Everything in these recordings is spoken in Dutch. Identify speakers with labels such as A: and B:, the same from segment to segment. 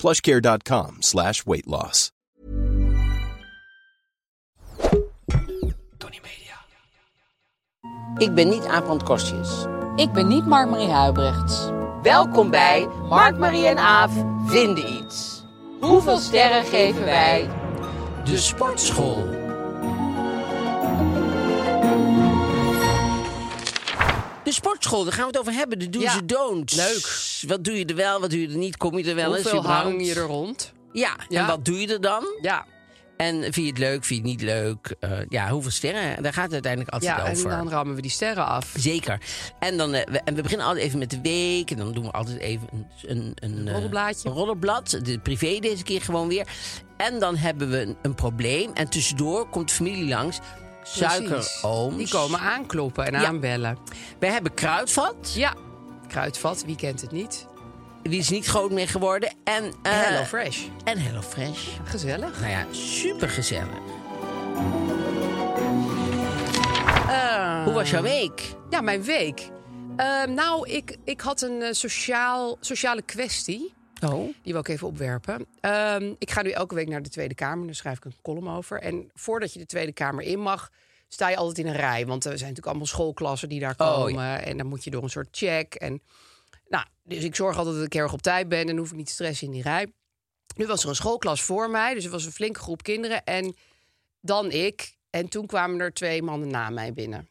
A: plushcare.com slash weight loss.
B: Ik ben niet Aaf Kostjes.
C: Ik ben niet Mark-Marie Huibrechts.
B: Welkom bij Mark, Marie en Aaf vinden iets. Hoeveel sterren geven wij?
D: De sportschool.
B: De sportschool, daar gaan we het over hebben. De do's
E: Ja.
B: en don'ts.
E: Leuk.
B: Wat doe je er wel, wat doe je er niet? Kom je er wel eens
E: Hoeveel
B: überhaupt?
E: hang je er rond?
B: Ja,
E: Ja.
B: en wat doe je er dan?
E: Ja.
B: En vind je het leuk, vind je het niet leuk? Eh, ja, hoeveel sterren? Daar gaat het uiteindelijk altijd
E: Ja, en
B: over.
E: dan rammen we die sterren af.
B: Zeker. En, dan, eh, we, en we beginnen altijd even met de week. En dan doen we altijd even een... een, een eh,
E: roddelblaadje.
B: Een roddelblad. De privé deze keer gewoon weer. En dan hebben we een, een probleem. En tussendoor komt de familie langs. Suikerooms.
E: Die komen aankloppen en
B: Ja.
E: aanbellen.
B: We hebben kruidvat.
E: Ja, kruidvat, wie kent het niet?
B: Die is niet groot meer geworden. En, eh,
E: Hello Fresh.
B: En Hello Fresh.
E: Gezellig.
B: Nou ja, supergezellig.
E: Ah.
B: Hoe was jouw week?
E: Ja, mijn week. Eh, nou, ik, ik had een eh, sociaal, sociale kwestie.
B: Oh.
E: Die wil ik even opwerpen. Ehm, ik ga nu elke week naar de Tweede Kamer. Daar schrijf ik een column over. En voordat je de Tweede Kamer in mag, sta je altijd in een rij. Want er zijn natuurlijk allemaal schoolklassen die daar
B: Oh,
E: komen. En dan moet je door een soort check. En, nou, dus ik zorg altijd dat ik erg op tijd ben. En dan hoef ik niet te stressen in die rij. Nu was er een schoolklas voor mij. Dus er was een flinke groep kinderen. En dan ik. En toen kwamen er twee mannen na mij binnen.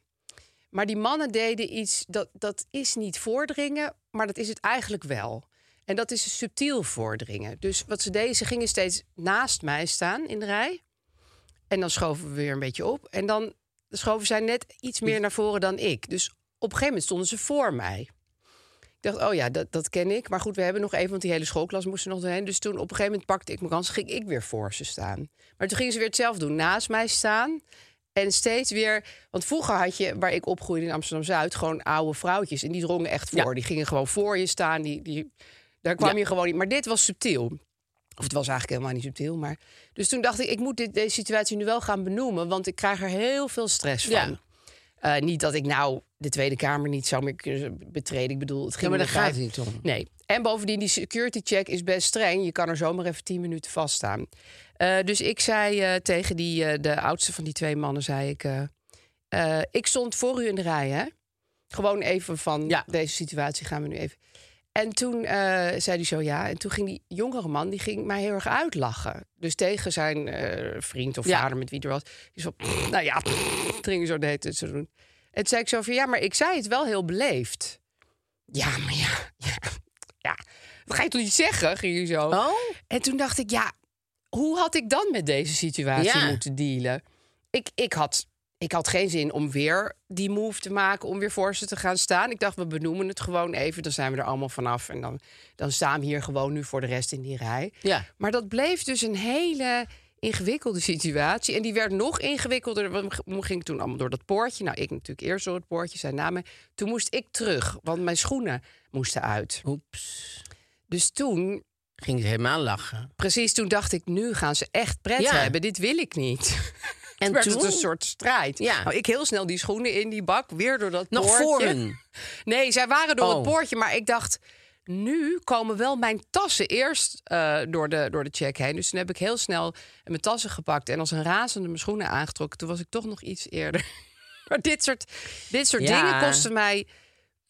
E: Maar die mannen deden iets, dat, dat is niet voordringen, maar dat is het eigenlijk wel. En dat is een subtiel voordringen. Dus wat ze deden, ze gingen steeds naast mij staan in de rij. En dan schoven we weer een beetje op. En dan schoven zij net iets meer naar voren dan ik. Dus op een gegeven moment stonden ze voor mij. Ik dacht, oh ja, dat, dat ken ik. Maar goed, we hebben nog even, want die hele schoolklas moest er nog doorheen. Dus toen op een gegeven moment pakte ik mijn kans, ging ik weer voor ze staan. Maar toen gingen ze weer hetzelfde doen, naast mij staan. En steeds weer, want vroeger had je, waar ik opgroeide in Amsterdam-Zuid, gewoon oude vrouwtjes. En die drongen echt voor. Die gingen gewoon voor je staan. Die, die, daar kwam je gewoon niet. Maar dit was subtiel. Of het was eigenlijk helemaal niet subtiel. Maar... Dus toen dacht ik, ik moet dit, deze situatie nu wel gaan benoemen. Want ik krijg er heel veel stress van. Eh, niet dat ik nou de Tweede Kamer niet zou meer kunnen betreden. Ik bedoel, het ging
B: maar
E: me
B: daar gaat
E: niet.
B: het niet om.
E: Nee. En bovendien, die security check is best streng. Je kan er zomaar even tien minuten vaststaan. Eh, dus ik zei eh, tegen die, eh, de oudste van die twee mannen, zei ik... eh, eh, ik stond voor u in de rij, hè? Gewoon even van
B: Ja.
E: deze situatie gaan we nu even... En toen eh, zei hij zo ja. En toen ging die jongere man, die ging mij heel erg uitlachen. Dus tegen zijn eh, vriend of
B: Ja.
E: vader met wie er was. Die zo, nou ja, dat ging hij zo de hele tijd zo doen. En toen zei ik zo van ja, maar ik zei het wel heel beleefd. Ja, maar ja, ja, ja. Dat ga je toch niet zeggen, ging hij zo.
B: Oh?
E: En toen dacht ik, ja, hoe had ik dan met deze situatie
B: Ja.
E: moeten dealen? Ik, ik, had, ik had geen zin om weer die move te maken, om weer voor ze te gaan staan. Ik dacht, we benoemen het gewoon even, dan zijn we er allemaal vanaf. En dan, dan staan we hier gewoon nu voor de rest in die rij.
B: Ja.
E: Maar dat bleef dus een hele ingewikkelde situatie. En die werd nog ingewikkelder. We we gingen toen allemaal door dat poortje. Nou, ik natuurlijk eerst door het poortje, zijn namen. Toen moest ik terug, want mijn schoenen moesten uit.
B: Oeps.
E: Dus toen
B: Ging ze helemaal lachen.
E: Precies, toen dacht ik, nu gaan ze echt pret
B: Ja.
E: hebben. Dit wil ik niet.
B: En
E: En werd het
B: toen?
E: een soort strijd.
B: Ja.
E: Nou, ik heel snel die schoenen in die bak, weer door dat
B: Nog
E: poortje.
B: voor hun.
E: Nee, zij waren door
B: Oh.
E: het poortje, maar ik dacht... Nu komen wel mijn tassen eerst eh, door, de, door de check heen. Dus toen heb ik heel snel mijn tassen gepakt... en als een razende mijn schoenen aangetrokken. Toen was ik toch nog iets eerder. maar dit soort, dit soort
B: Ja.
E: dingen kosten mij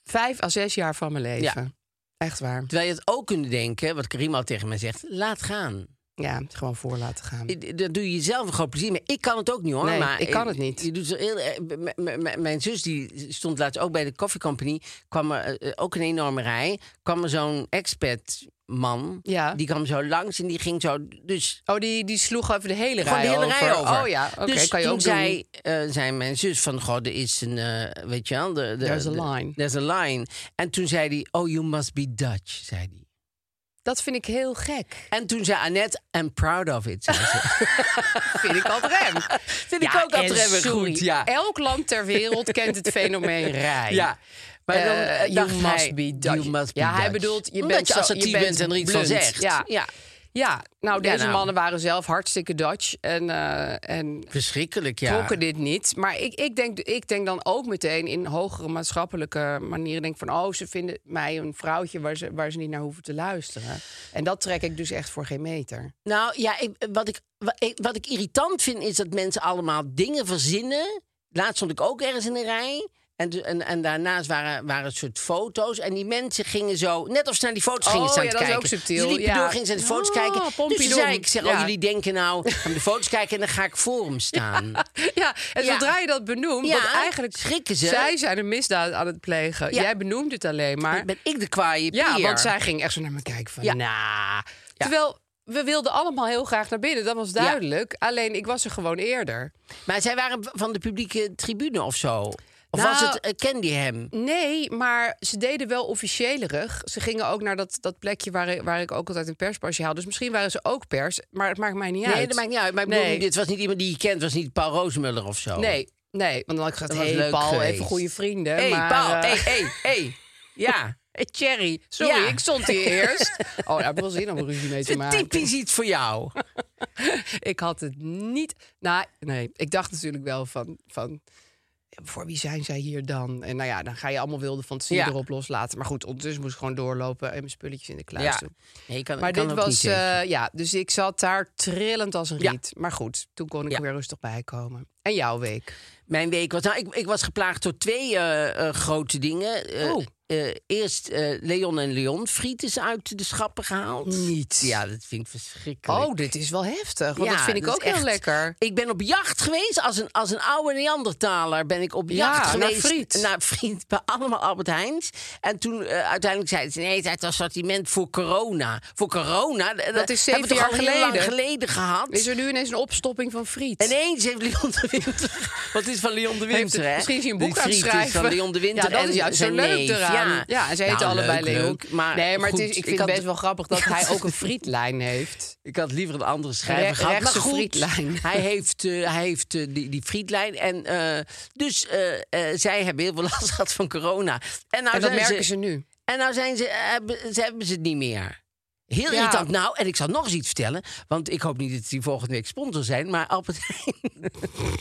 E: vijf à zes jaar van mijn leven. Echt waar.
B: Terwijl je het ook kunnen denken, wat Karim al tegen mij zegt, laat gaan.
E: Ja, het gewoon voor laten gaan.
B: I- Dat doe je zelf een groot plezier mee. Ik kan het ook niet hoor.
E: Nee,
B: maar
E: ik kan het niet.
B: Je doet zo heel, eh, m- m- m- mijn zus die stond laatst ook bij de Coffee Company. Kwam er eh, eh, ook een enorme rij. Kwam er zo'n expat man.
E: Ja.
B: Die kwam zo langs en die ging zo. Dus
E: Oh, die, die sloeg even de hele
B: gewoon
E: rij
B: de hele
E: over.
B: rij over.
E: Oh ja, oké,
B: dus
E: kan je
B: toen
E: ook doen.
B: zei, eh, zei mijn zus van, god, er is een, eh, weet je wel, de, de,
E: There's a
B: de-
E: line.
B: there's a line. En toen zei hij, oh, you must be Dutch, zei hij.
E: Dat vind ik heel gek.
B: En toen zei Annette, I'm proud of it. zei ze.
E: Vind ik adrem.
B: Vind ik ook altijd even goed, ja.
E: Elk land ter wereld kent het fenomeen rij.
B: Ja. Maar
E: Eh,
B: dan
E: you
B: eh, dacht
E: must
B: hij,
E: be Dutch.
B: you must be
E: Ja, hij
B: Dutch.
E: bedoelt, je
B: Omdat
E: bent
B: je
E: zo-
B: assertief
E: je bent
B: bent en er iets van
E: blunt.
B: zegt.
E: Ja.
B: ja.
E: Ja, nou,
B: Ja,
E: deze
B: nou.
E: mannen waren zelf hartstikke Dutch en, eh, en
B: Verschrikkelijk, ja.
E: trokken dit niet. Maar ik, ik, denk, ik denk dan ook meteen in hogere maatschappelijke manieren. Denk van, oh, ze vinden mij een vrouwtje waar ze, waar ze niet naar hoeven te luisteren. En dat trek ik dus echt voor geen meter.
B: Nou ja, ik, wat, ik, wa- ik- wat ik irritant vind is dat mensen allemaal dingen verzinnen. Laatst stond ik ook ergens in een rij. En, de- en, en daarnaast waren, waren het soort foto's. En die mensen gingen zo, net of ze naar die foto's gingen
E: Oh,
B: staan
E: ja,
B: te
E: dat is
B: kijken.
E: ook subtiel,
B: Ze liepen
E: ja.
B: door, gingen ze naar de foto's
E: Ah,
B: kijken. Dus toen
E: Pompidou.
B: zei ik, ik zeg,
E: Ja.
B: oh, jullie denken nou, aan de foto's kijken en dan ga ik voor hem staan.
E: Ja, en
B: Ja.
E: zodra je dat benoemt,
B: Ja,
E: want eigenlijk
B: schrikken ze.
E: Zij zijn een misdaad aan het plegen.
B: Ja.
E: Jij benoemt het alleen maar.
B: Ben ik de kwaaie
E: Ja,
B: pier?
E: want zij ging echt zo naar me kijken van,
B: Ja.
E: nou. Terwijl we wilden allemaal heel graag naar binnen, dat was duidelijk. Alleen ik was er gewoon eerder.
B: Maar zij waren van de publieke tribune of zo? Of
E: Nou,
B: was het, eh, kende je hem?
E: Nee, maar ze deden wel officiëlerig. Ze gingen ook naar dat, dat plekje waar, waar ik ook altijd een perspasje haal. Dus misschien waren ze ook pers, maar het maakt mij niet uit.
B: Nee, dat maakt niet uit. Maar ik
E: Nee. Oh.
B: bedoel, dit was niet iemand die je kent. Het was niet Paul Roosmuller of zo.
E: Nee, nee, want dan had ik gezegd,
B: Dat was
E: hey,
B: leuk
E: Paul,
B: geweest.
E: even goede vrienden.
B: Hé,
E: maar,
B: Paul.
E: eh,
B: Hé, hé, hé. Ja.
E: Thierry, sorry,
B: Ja.
E: ik stond hier eerst. Oh, daar heb ik wel zin om ruzie mee
B: Het
E: te
B: is
E: maken.
B: typisch iets voor jou.
E: Ik had het niet. Nou, nee, ik dacht natuurlijk wel van, van. Voor wie zijn zij hier dan? En nou ja, dan ga je allemaal wilde fantasie
B: Ja.
E: erop loslaten. Maar goed, ondertussen moest ik gewoon doorlopen en mijn spulletjes in de kluis
B: Ja.
E: doen.
B: Nee, je kan,
E: Maar
B: kan
E: dit
B: ook
E: was.
B: niet zeggen.
E: eh, ja, dus ik zat daar trillend als een
B: Ja.
E: riet. Maar goed, toen kon ik
B: Ja.
E: er weer rustig bij komen. En jouw week.
B: Mijn week was. Nou, ik, ik was geplaagd door twee eh, eh, grote dingen. Eh,
E: Oh.
B: eh, eerst eh, Leon en Leon friet is uit de schappen gehaald.
E: Niet.
B: Ja, dat vind ik verschrikkelijk.
E: Oh, dit is wel heftig. Want
B: Ja,
E: dat vind ik
B: dat
E: ook
B: is
E: heel
B: echt-
E: lekker.
B: Ik ben op jacht geweest. Als een, als een oude Neandertaler ben ik op
E: Ja,
B: jacht
E: naar
B: geweest.
E: friet.
B: Naar friet bij allemaal Albert Heijns. En toen eh, uiteindelijk zeiden ze... nee, het was assortiment voor corona. Voor corona? eh, Dat,
E: is zeven
B: hebben we toch
E: jaar
B: al heel lang
E: geleden?
B: geleden gehad.
E: Is er nu ineens een opstopping van friet?
B: Ineens heeft Leon de Winter... Wat is van Leon de Winter,
E: Heeft het-
B: hè?
E: Misschien is hij een
B: Die
E: boek aan het
B: friet is
E: schrijven.
B: van Leon de Winter
E: Ja, dat
B: en
E: is juist zo
B: zijn
E: leuk
B: neef.
E: eraan. Ja,
B: Ja.
E: en ze heten
B: Nou,
E: allemaal
B: leuk,
E: Leon.
B: leuk, maar
E: nee, maar het
B: goed,
E: is, ik
B: ik
E: vind het
B: had-
E: best wel grappig dat hij ook een frietlijn heeft.
B: Ik had liever een andere schrijver
E: Re-
B: gehad. Maar
E: rechtse
B: goed,
E: frietlijn.
B: hij heeft, eh, hij heeft eh, die, die frietlijn. En, eh, dus eh, eh, zij hebben heel veel last gehad van corona. En, nou
E: en dat
B: zijn
E: merken ze nu.
B: En nou zijn ze, hebben, ze hebben ze het niet meer. Heel
E: Ja.
B: irritant. Nou, en ik zal nog eens iets vertellen. Want ik hoop niet dat die volgende week sponsor zijn. Maar Albert Heijn... nou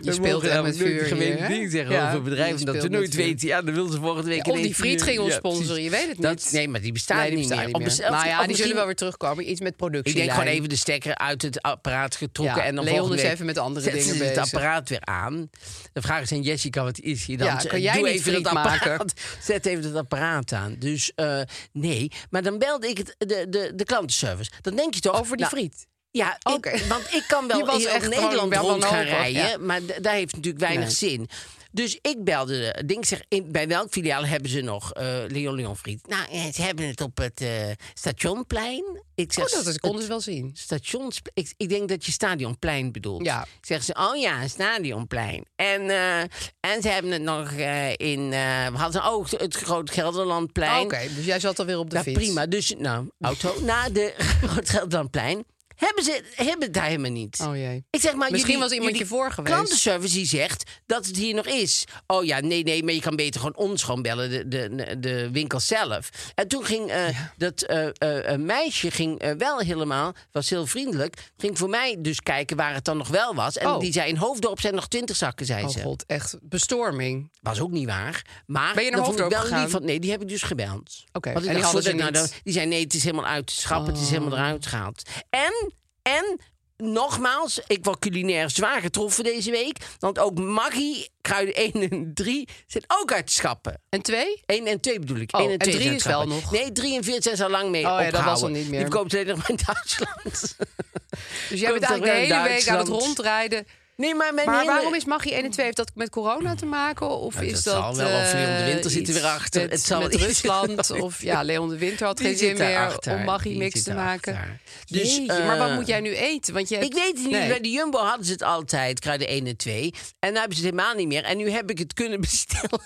E: Je speelt echt met vuur hier,
B: gemeen
E: hè?
B: ding zeggen
E: Ja,
B: over
E: je
B: bedrijven. Dat
E: speelt
B: ze nooit
E: met vuur.
B: weten. Ja, dan wilden ze volgende week...
E: Ja, of die
B: ineens-
E: friet ging ons
B: Ja, precies.
E: sponsoren, je weet het
B: Dat-
E: niet.
B: nee, maar die bestaan
E: nee, die
B: niet
E: bestaan
B: meer.
E: niet meer.
B: Op een- of-
E: nou ja,
B: of
E: die
B: misschien-
E: zullen wel weer terugkomen. Iets met productie.
B: Ik denk gewoon even de stekker uit het apparaat getrokken.
E: Ja,
B: en dan
E: Leon
B: volgende
E: is
B: week
E: even met andere
B: zetten
E: dingen
B: ze het
E: bezig.
B: apparaat weer aan. De vraag is aan Jessica, wat is hier dan?
E: Ja,
B: Ze-
E: kan jij
B: Doe
E: niet
B: even dat
E: friet maken?
B: apparaat. Zet even dat apparaat aan. Dus eh, nee. Maar dan belde ik het, de, de, de klantenservice. Dan denk je toch...
E: Over die
B: nou,
E: friet.
B: Ja, ik-
E: Oké.
B: want ik kan
E: Je
B: wel
E: was
B: heel
E: echt gewoon
B: Nederland
E: wel
B: rond gaan
E: wanhopig,
B: rijden.
E: ja.
B: Maar d- daar heeft natuurlijk weinig zin. Dus ik belde de ding. Ik Zeg, in- bij welk filiaal hebben ze nog eh Leon Leon Friet? Nou, eh, ze hebben het op het eh, stationplein. Ik zeg,
E: Oh, dat is-
B: het-
E: konden ze wel zien.
B: stations. Ik, ik denk dat je stadionplein bedoelt.
E: Ja.
B: Zeggen ze, oh ja, een stadionplein. En, eh, en ze hebben het nog eh, in. eh, we hadden ook het Groot Gelderlandplein.
E: Oké, dus jij zat alweer op de
B: Nou,
E: fiets.
B: prima. Dus, nou, auto. na de Groot Gelderlandplein. Hebben ze hebben het daar helemaal niet.
E: Oh jee.
B: Ik zeg maar,
E: Misschien
B: jullie-
E: was iemand
B: jullie
E: je voor geweest.
B: Klantenservice die zegt dat het hier nog is. Oh ja, nee, nee, maar je kan beter gewoon ons gewoon bellen, de, de, de winkel zelf. En toen ging eh, dat eh, eh, een meisje ging, eh, wel helemaal, was heel vriendelijk, ging voor mij dus kijken waar het dan nog wel was. En
E: Oh.
B: die zei, in Hoofddorp zijn nog twintig zakken, zei
E: Oh
B: ze.
E: god, echt bestorming.
B: Was ook niet waar. Maar
E: Ben je naar
B: dat vond ik
E: Hoofddorp
B: wel
E: gegaan?
B: lief, want nee, die heb ik dus gebeld.
E: Oké,
B: Want ik
E: en die
B: dacht,
E: hadden
B: voordat
E: ze
B: ik
E: niet. Oh.
B: nou, dat- die zei nee, het is helemaal uit de schap, het is helemaal eruit gehaald. En, en nogmaals, ik word culinair zwaar getroffen deze week. Want ook Maggie, kruiden 1 en 3, zijn ook uit de schappen.
E: En twee?
B: 1 en 2 bedoel ik.
E: Oh,
B: 1 en
E: en
B: 2
E: drie
B: zijn
E: is
B: schappen.
E: wel nog. Oh
B: Nee, 3 en 4 zijn ze al lang mee
E: ja, dat was
B: opgehouden.
E: al niet meer.
B: Die koopt alleen nog maar in Duitsland.
E: Dus jij bent
B: Komt
E: eigenlijk de
B: er
E: hele
B: wel
E: week aan het
B: Duitsland.
E: rondrijden.
B: Nee, maar mijn
E: Maar
B: hele-
E: waarom is Maggie 1 en 2? Heeft dat met corona te maken? Of
B: Nou,
E: is
B: dat zal
E: dat...
B: wel, of Leon de
E: eh,
B: Winter zit er weer
E: iets
B: achter.
E: Met,
B: Het zal
E: met
B: iets-
E: Rusland. Of ja, Leon de Winter had
B: Die
E: geen zin
B: zit
E: meer
B: daarachter,
E: om Maggie
B: die
E: mix
B: zit
E: te maken.
B: daarachter. Dus,
E: Jeetje, maar wat
B: eh,
E: moet jij nu eten? Want je hebt...
B: Ik weet het niet.
E: Nee.
B: Bij de Jumbo hadden ze het altijd, kruiden 1 en 2. En nu hebben ze het helemaal niet meer. En nu heb ik het kunnen bestellen.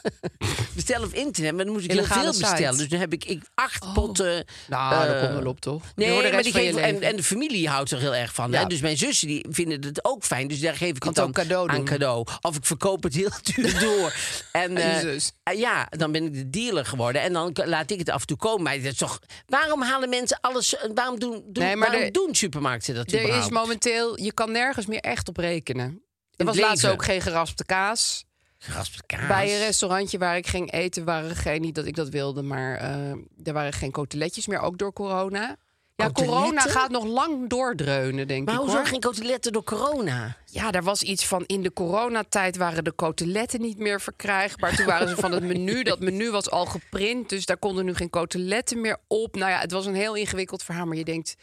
B: bestellen op internet, maar dan moest ik
E: Illegale
B: heel veel
E: site.
B: bestellen. Dus dan heb ik, ik acht potten...
E: Oh. Nou,
B: eh,
E: daar komt wel op, toch? Die
B: Nee,
E: horen de
B: maar
E: rest
B: die
E: van je
B: geven, en,
E: leven.
B: en de familie houdt er heel erg van. Hè?
E: Ja.
B: Dus mijn zussen die vinden het ook fijn. Dus daar geef ik het
E: het
B: dan
E: ook cadeau
B: aan
E: doen.
B: cadeau. Of ik verkoop het heel duur door. En,
E: je
B: eh,
E: zus.
B: eh, ja, dan ben ik de dealer geworden. En dan k- laat ik het af en toe komen. Maar dat is toch, waarom halen mensen alles... eh, Waarom doen, doen,
E: Nee, maar
B: waarom
E: er-
B: doen supermarkten dat
E: Er is
B: überhaupt?
E: momenteel... Je kan nergens meer echt op rekenen. Er
B: het
E: was laatst
B: leven.
E: ook geen geraspte kaas.
B: Geraspte kaas.
E: Bij een restaurantje waar ik ging eten waren geen... Niet dat ik dat wilde, maar eh, er waren geen koteletjes meer. Ook door corona. Ja,
B: Koteletten?
E: corona gaat nog lang doordreunen, denk
B: Maar
E: ik.
B: hoezo
E: hoor.
B: geen koteletten door corona?
E: Ja, er was iets van in de coronatijd waren de koteletten niet meer verkrijgbaar. Toen waren ze van het menu. Dat menu was al geprint, dus daar konden nu geen koteletten meer op. Nou ja, het was een heel ingewikkeld verhaal. Maar je denkt,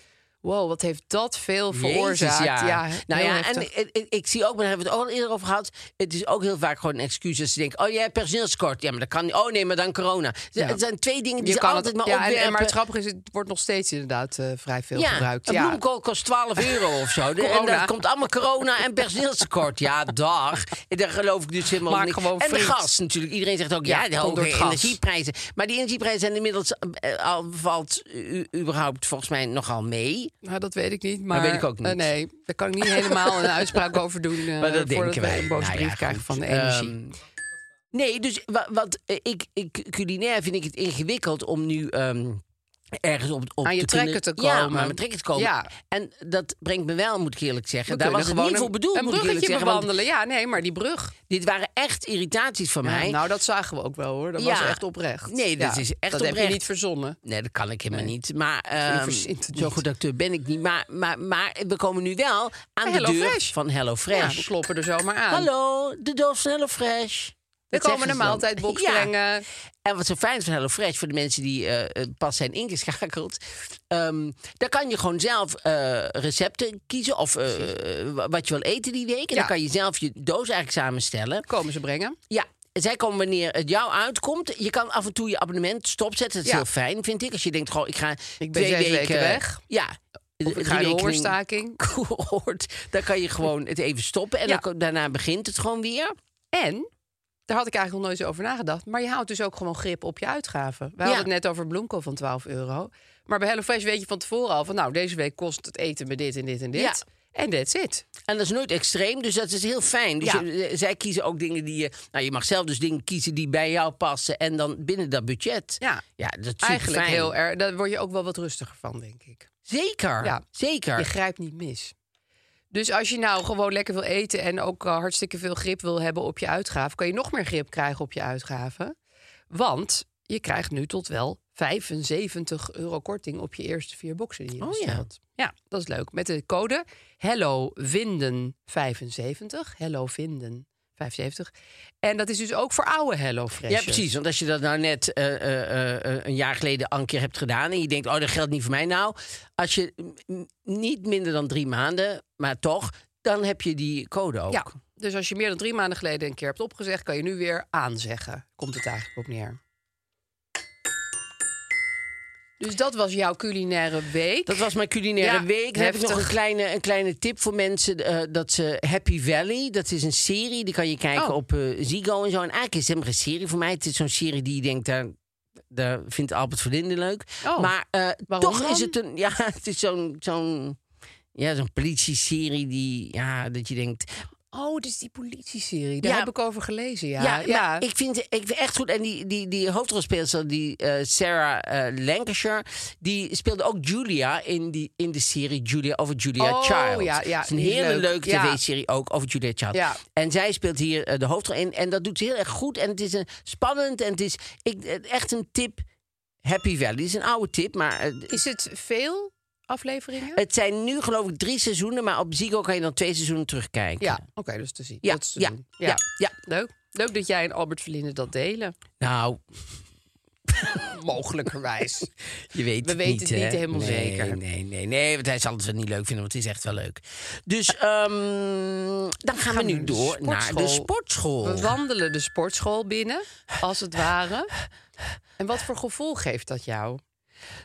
E: wow, wat heeft dat veel veroorzaakt?
B: Jezus, ja. nou
E: heel
B: ja, en
E: heftig.
B: ik, ik- ik zie ook, maar daar hebben we het ook al eerder over gehad. Het is ook heel vaak gewoon een excuus. Dat ze denken, oh, jij hebt personeelskort. Ja, maar dat kan niet. Oh, nee, maar dan corona. Z-
E: Ja.
B: Het zijn twee dingen die
E: je
B: ze
E: kan
B: altijd maar
E: ja, en- en
B: opwerpen.
E: Maar het grappige is, het wordt nog steeds inderdaad eh, vrij veel
B: ja,
E: gebruikt.
B: een
E: ja.
B: bloemkool kost 12 euro of zo. En
E: Corona.
B: daar komt allemaal corona en personeelstekort. Ja, dag. En Daar geloof ik dus helemaal
E: Maak
B: niet.
E: gewoon
B: en de
E: friet.
B: gas natuurlijk. Iedereen zegt ook,
E: Ja,
B: ja, de
E: komt door
B: hoge
E: het gas.
B: energieprijzen. Maar die energieprijzen zijn inmiddels... eh, al valt u, überhaupt volgens mij nogal mee.
E: Nou, dat weet ik niet. Maar
B: weet ik ook niet.
E: eh, nee, daar kan ik niet helemaal een uitspraak over doen. eh,
B: Maar dat
E: voordat
B: denken wij.
E: we een boze
B: Nou ja,
E: brief krijgen
B: goed.
E: van de energie.
B: Ehm, nee, dus wat, wat eh, ik, ik culinair vind ik het ingewikkeld om nu ehm, ergens op, op
E: Aan je
B: kunnen-
E: trekken te
B: Ja,
E: komen.
B: maar aan mijn trekken te komen.
E: Ja.
B: En dat brengt me wel, moet ik eerlijk zeggen.
E: We
B: Daar was
E: kunnen
B: het
E: gewoon
B: niet
E: een-
B: voor bedoeld,
E: Een
B: moet ik eerlijk
E: bruggetje
B: zeggen. Want
E: bewandelen. Ja, nee, maar die brug.
B: dit waren echt irritaties van
E: Ja,
B: mij.
E: nou, dat zagen we ook wel hoor. Dat was
B: Ja.
E: echt oprecht.
B: Nee, dat
E: Ja,
B: is echt
E: dat heb
B: oprecht.
E: je niet verzonnen.
B: Nee, dat kan ik helemaal
E: Nee.
B: niet. Maar
E: Je
B: ehm
E: verzint het
B: zo
E: niet.
B: goed acteur ben ik niet. Maar, maar, maar we komen nu wel aan
E: Hello
B: de deur
E: Fresh.
B: van Hello
E: Ja,
B: Fresh.
E: we kloppen er zomaar aan.
B: Hallo, de doos van Hello Fresh.
E: We
B: Dat
E: komen
B: zeggen
E: de
B: ze dan.
E: maaltijdbox
B: Ja.
E: brengen.
B: En wat zo fijn is van HelloFresh, voor de mensen die eh, eh, pas zijn ingeschakeld... ehm daar kan je gewoon zelf eh, recepten kiezen of eh, eh, wa- wat je wil eten die week. En
E: Ja.
B: dan kan je zelf je doos eigenlijk samenstellen.
E: Komen ze brengen.
B: Ja, zij komen wanneer het jou uitkomt. Je kan af en toe je abonnement stopzetten. Dat is
E: Ja.
B: heel fijn, vind ik. Als je denkt, goh, ik ga
E: ben
B: twee
E: zes
B: weken,
E: weken weg.
B: Ja.
E: Of
B: Die
E: ik ga in een
B: rekening
E: hongerstaking.
B: hoort, dan kan je gewoon het even stoppen. En
E: Ja.
B: dan, daarna begint het gewoon weer.
E: En, daar had ik eigenlijk nog nooit zo over nagedacht... maar je houdt dus ook gewoon grip op je uitgaven. We hadden het net over bloemkool van 12 euro. Maar bij HelloFresh weet je van tevoren al van... nou, deze week kost het eten me dit en dit en dit.
B: Ja.
E: En that's it.
B: En dat is nooit extreem, dus dat is heel fijn. Dus
E: Ja.
B: je- zij kiezen ook dingen die je... Nou, je mag zelf dus dingen kiezen die bij jou passen... en dan binnen dat budget.
E: Ja.
B: ja dat is
E: Eigenlijk
B: superfijn.
E: heel erg. Daar word je ook wel wat rustiger van, denk ik.
B: Zeker,
E: Ja.
B: zeker.
E: Je grijpt niet mis. Dus als je nou gewoon lekker wil eten en ook eh, hartstikke veel grip wil hebben op je uitgaven, kan je nog meer grip krijgen op je uitgaven. Want je krijgt nu tot wel 75 euro korting op je eerste vier boxen die je
B: Oh ja.
E: bestelt. Ja. dat is leuk. Met de code HelloVinden75. HelloVinden75. En dat is dus ook voor oude HelloFresh.
B: Ja, precies. Want als je dat nou net eh, eh, eh, eh, een jaar geleden al een keer hebt gedaan... en je denkt, oh, dat geldt niet voor mij. Nou, als je mm, mm, niet minder dan drie maanden, maar toch... dan heb je die code ook.
E: Ja, dus als je meer dan drie maanden geleden een keer hebt opgezegd, kan je nu weer aanzeggen. Komt het eigenlijk op neer. Dus dat was jouw culinaire week. Oh,
B: Dat was mijn culinaire
E: Ja,
B: week. Dan heb ik nog
E: heftig.
B: een kleine, een kleine tip voor mensen. eh, dat ze Happy Valley, dat is een serie. Die kan je kijken
E: Oh.
B: op eh, Ziggo en zo. En eigenlijk is het helemaal geen serie voor mij. Het is zo'n serie die je denkt... Daar, daar vindt Albert Verlinde leuk.
E: Oh,
B: maar eh,
E: waarom
B: toch
E: dan?
B: is het een... Ja, het is zo'n... zo'n ja, zo'n politie-serie die... Ja, dat je denkt...
E: Oh, dus die politieserie. Daar
B: Ja.
E: heb ik over gelezen, ja.
B: Ja, maar ik vind ik vind echt goed. En die, die, die hoofdrolspeelster, die eh, Sarah eh, Lancashire, die speelde ook Julia in, die, in de serie Julia over Julia
E: Oh,
B: Child.
E: ja, ja,
B: Het is een
E: die is
B: hele
E: leuk.
B: leuke
E: Ja.
B: tv-serie ook over Julia Child.
E: Ja.
B: En zij speelt hier eh, de hoofdrol in. En dat doet ze heel erg goed. En het is een, spannend. En het is ik, eh, echt een tip. Happy Valley Het is een oude tip, maar eh,
E: Is het veel afleveringen?
B: Het zijn nu geloof ik drie seizoenen, maar op Ziggo kan je dan twee seizoenen terugkijken.
E: Ja, oké, dus te zien.
B: Ja,
E: dat is te
B: ja,
E: doen.
B: ja,
E: Leuk. Leuk dat jij en Albert Verlinde dat delen.
B: Nou,
E: Mogelijkerwijs.
B: je weet
E: We
B: het
E: weten
B: niet,
E: het niet
B: hè?
E: helemaal
B: nee,
E: zeker.
B: Nee, nee, nee, want hij zal het wel niet leuk vinden, want het is echt wel leuk. Dus
E: Ah.
B: ehm, dan gaan we nu
E: naar de
B: door naar de
E: sportschool.
B: sportschool.
E: We wandelen de sportschool binnen, als het ware. En wat voor gevoel geeft dat jou?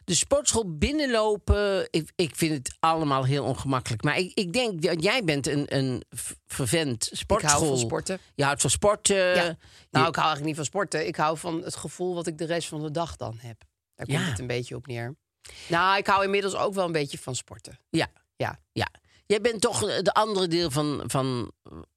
B: de sportschool binnenlopen, ik, ik vind het allemaal heel ongemakkelijk. Maar ik, ik denk, ja, jij bent een, een v- vervent sportschool.
E: sporten.
B: Je houdt van sporten.
E: Ja. nou,
B: Eh, je-
E: ik hou eigenlijk niet van sporten. Ik hou van het gevoel wat ik de rest van de dag dan heb. Daar komt
B: Ja.
E: het een beetje op neer. Nou, ik hou inmiddels ook wel een beetje van sporten.
B: ja,
E: Ja.
B: ja. Jij bent toch eh, de andere deel van, van,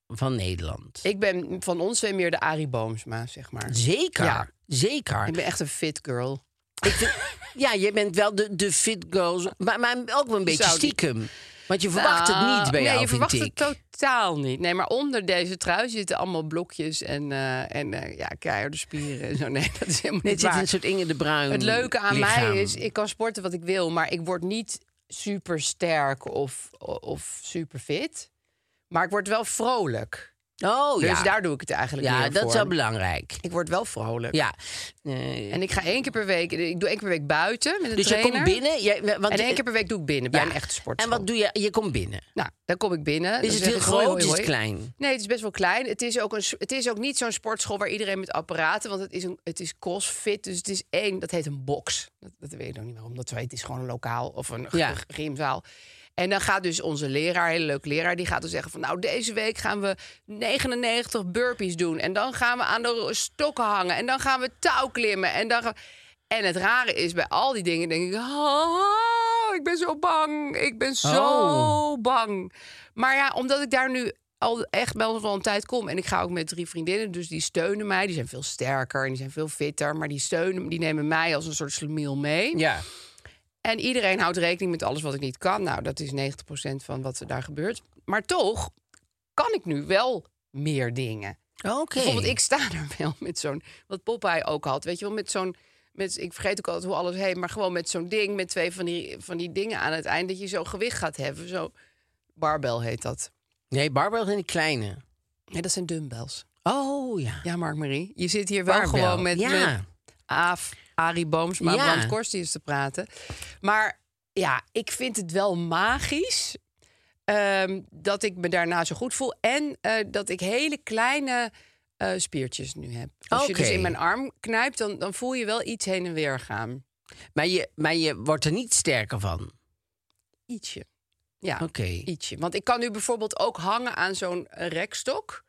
B: van Nederland.
E: Ik ben van ons twee meer de Arie Boomsma, zeg maar.
B: Zeker,
E: Ja.
B: zeker.
E: Ik ben echt een fit girl.
B: Ik vind- ja, jij bent wel de, de fit girl, maar, maar ook wel een beetje
E: zou die-
B: stiekem. Want je verwacht
E: Nou,
B: het niet bij
E: nee,
B: jou,
E: je
B: vind
E: verwacht
B: ik.
E: het totaal niet. Nee, maar onder deze trui zitten allemaal blokjes en, eh en eh, ja, keiharde spieren en zo. Nee, dat is helemaal
B: Nee, het
E: niet
B: zit
E: waar.
B: een soort Inge de Bruin
E: Het leuke aan
B: lichaam.
E: mij is, ik kan sporten wat ik wil, maar ik word niet super sterk of, of super fit. Maar ik word wel vrolijk.
B: Oh
E: Dus
B: ja,
E: daar doe ik het eigenlijk
B: ja
E: meer
B: dat
E: voor.
B: is wel belangrijk.
E: Ik word wel vrolijk.
B: Ja. Eh,
E: En ik ga één keer per week, ik doe één keer per week buiten met een
B: dus je
E: trainer.
B: komt binnen. Jij, want
E: En één keer per week doe ik binnen bij
B: Ja.
E: een echte sport.
B: En wat doe je? Je komt binnen.
E: Nou, dan kom ik binnen.
B: Is
E: dan
B: het
E: zeg
B: heel
E: ik, hoi,
B: groot? Is
E: hoi,
B: het
E: hoi.
B: klein?
E: Nee, het is best wel klein. Het is ook, een, s- het is ook niet zo'n sportschool waar iedereen met apparaten... want het is, een, het is crossfit, dus het is één... dat heet een box. Dat, dat weet ik nog niet waarom dat zo heet. Het is gewoon een lokaal of een g-
B: Ja.
E: g- gymzaal. En dan gaat dus onze leraar, een hele leuke leraar... die gaat dan zeggen van nou, deze week gaan we 99 burpees doen... en dan gaan we aan de ro- stokken hangen... en dan gaan we touw klimmen en dan... gaan- En het rare is, bij al die dingen denk ik... Oh, ik ben zo bang, ik ben zo
B: Oh.
E: bang. Maar ja, omdat ik daar nu al echt wel van een tijd kom... en ik ga ook met drie vriendinnen, dus die steunen mij. Die zijn veel sterker en die zijn veel fitter... maar die steunen, die nemen mij als een soort slemiel mee.
B: Ja.
E: En iedereen houdt rekening met alles wat ik niet kan. Nou, dat is 90% van wat er daar gebeurt. Maar toch kan ik nu wel meer dingen.
B: Oké.
E: Bijvoorbeeld, ik sta er wel met zo'n... Wat Popeye ook had, weet je wel, met zo'n... Met, ik vergeet ook altijd hoe alles heet, maar gewoon met zo'n ding... met twee van die, van die dingen aan het eind... dat je zo gewicht gaat hebben. Zo, barbel heet dat.
B: Nee, barbells in de kleine.
E: Nee, dat zijn dumbbells.
B: Oh ja.
E: Ja, Mark-Marie, je zit hier wel
B: Barbell,
E: gewoon met,
B: ja.
E: met Aaf, Arie Boomsma,
B: Ja.
E: Brand Korstius te praten. Maar ja, ik vind het wel magisch... ehm, dat ik me daarna zo goed voel. En eh, dat ik hele kleine eh, spiertjes nu heb. Als je dus
B: Oké.
E: in mijn arm knijpt, dan, dan voel je wel iets heen en weer gaan.
B: Maar je, maar je wordt er niet sterker van.
E: Ietsje. Ja,
B: Oké.
E: ietsje. Want ik kan nu bijvoorbeeld ook hangen aan zo'n eh, rekstok.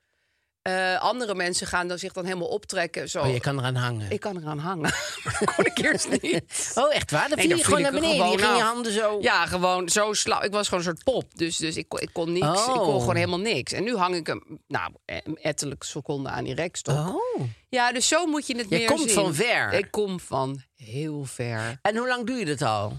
E: Eh, andere mensen gaan dan zich dan helemaal optrekken. Zo.
B: Oh, je kan eraan hangen.
E: Ik kan eraan hangen. maar dat kon ik eerst niet.
B: Oh, echt waar? Dan
E: Nee,
B: viel
E: dan
B: je gewoon
E: viel
B: naar
E: ik er
B: beneden. je
E: gewoon
B: ging je
E: af.
B: handen zo...
E: Ja, gewoon zo slap. Ik was gewoon een soort pop. Dus, dus ik, kon- ik kon niks. Ik kon
B: Oh.
E: gewoon helemaal niks. En nu hang ik hem, nou, een ettelijke seconde aan die rekstok.
B: Oh.
E: Ja, dus zo moet je het
B: Je
E: meer
B: komt
E: zien.
B: van ver.
E: Ik kom van heel ver.
B: En hoe lang doe je dat al?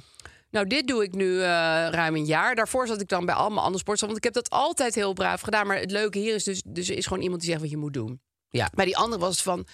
E: Nou, dit doe ik nu eh, ruim een jaar. Daarvoor zat ik dan bij allemaal andere sportschool. Want ik heb dat altijd heel braaf gedaan. Maar het leuke hier is dus, dus er is gewoon iemand die zegt wat je moet doen.
B: Ja.
E: Bij die andere was het van...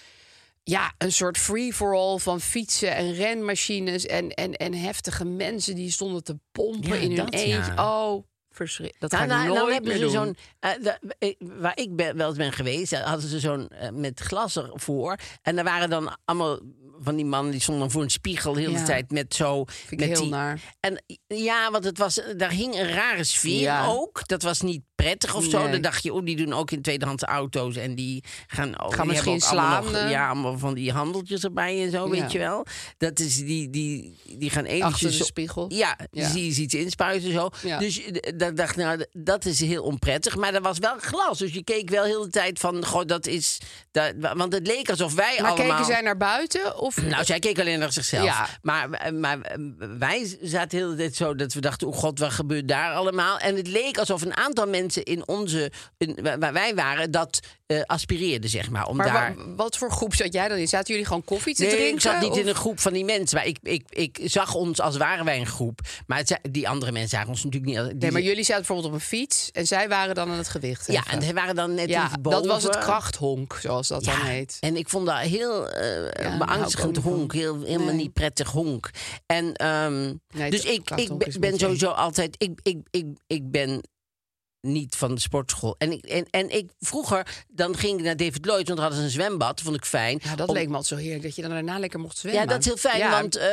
E: Ja, een soort free-for-all van fietsen en renmachines... en, en, en heftige mensen die stonden te pompen
B: Ja,
E: in hun
B: dat
E: eentje.
B: ja.
E: Oh, verschrikkelijk. Dat
B: Nou, nou,
E: gaan ga ik
B: nou
E: nooit
B: hebben
E: meer
B: ze
E: doen.
B: zo'n... eh, da- eh, waar ik ben, wel eens ben geweest, daar hadden ze zo'n eh, met glas ervoor. En daar waren dan allemaal van die mannen die stonden dan voor een spiegel heel de
E: Ja.
B: tijd met zo...
E: ik
B: met
E: heel
B: die,
E: naar.
B: En ja, want het was, daar hing een rare sfeer
E: Ja.
B: ook. Dat was niet prettig of zo.
E: Nee.
B: Dan dacht je, oh, die doen ook in tweedehands auto's. En die gaan, oh, die
E: misschien
B: hebben ook allemaal
E: slaan,
B: nog-
E: eh.
B: ja, allemaal van die handeltjes erbij en zo,
E: Ja.
B: weet je wel. Dat is die, die, die gaan eventjes...
E: Achter de
B: zo-
E: spiegel.
B: ja,
E: Ja.
B: zie je ziet iets inspuiten zo.
E: Ja.
B: Dus eh, dat dacht nou, d- dat is heel onprettig. Maar er was wel glas. Dus je keek wel heel de tijd van, goh, dat is... Dat, want het leek alsof wij
E: Maar
B: allemaal...
E: keken zij naar buiten? Of...
B: Nou, zij keek alleen naar zichzelf.
E: Ja.
B: Maar, maar eh, wij zaten heel de tijd zo dat we dachten... oh god, wat gebeurt daar allemaal? En het leek alsof een aantal mensen mensen in onze, in, wa- waar wij waren, dat eh, aspireerden, zeg maar. Om
E: Maar
B: daar...
E: wa- wat voor groep zat jij dan in? Zaten jullie gewoon koffie te
B: Nee,
E: drinken?
B: ik zat niet
E: of-
B: in een groep van die mensen. Maar ik, ik, ik zag ons als waren wij een groep. Maar het, zijn- die andere mensen zagen ons natuurlijk niet. als- Die,
E: Nee, maar jullie zaten bijvoorbeeld op een fiets en zij waren dan aan het gewicht.
B: Ja,
E: heffen.
B: en ze waren dan net
E: Ja,
B: iets boven.
E: dat was het krachthonk, zoals dat dan heet.
B: En ik vond dat heel eh
E: hou
B: beangstigend
E: ik ook niet
B: honk. Heel, helemaal niet prettig honk. En, ehm,
E: Nee,
B: dus
E: het
B: ik, ik
E: krachthonk
B: ben-
E: is een
B: ben
E: beetje-
B: sowieso altijd... Ik, ik, ik, ik ben niet van de sportschool. En ik, en, en ik vroeger, dan ging ik naar David Lloyd... want daar hadden ze een zwembad, vond ik fijn.
E: Ja, dat
B: Om-
E: leek me altijd zo heerlijk dat je dan daarna lekker mocht zwemmen.
B: Ja, dat is heel fijn,
E: Ja,
B: want eh,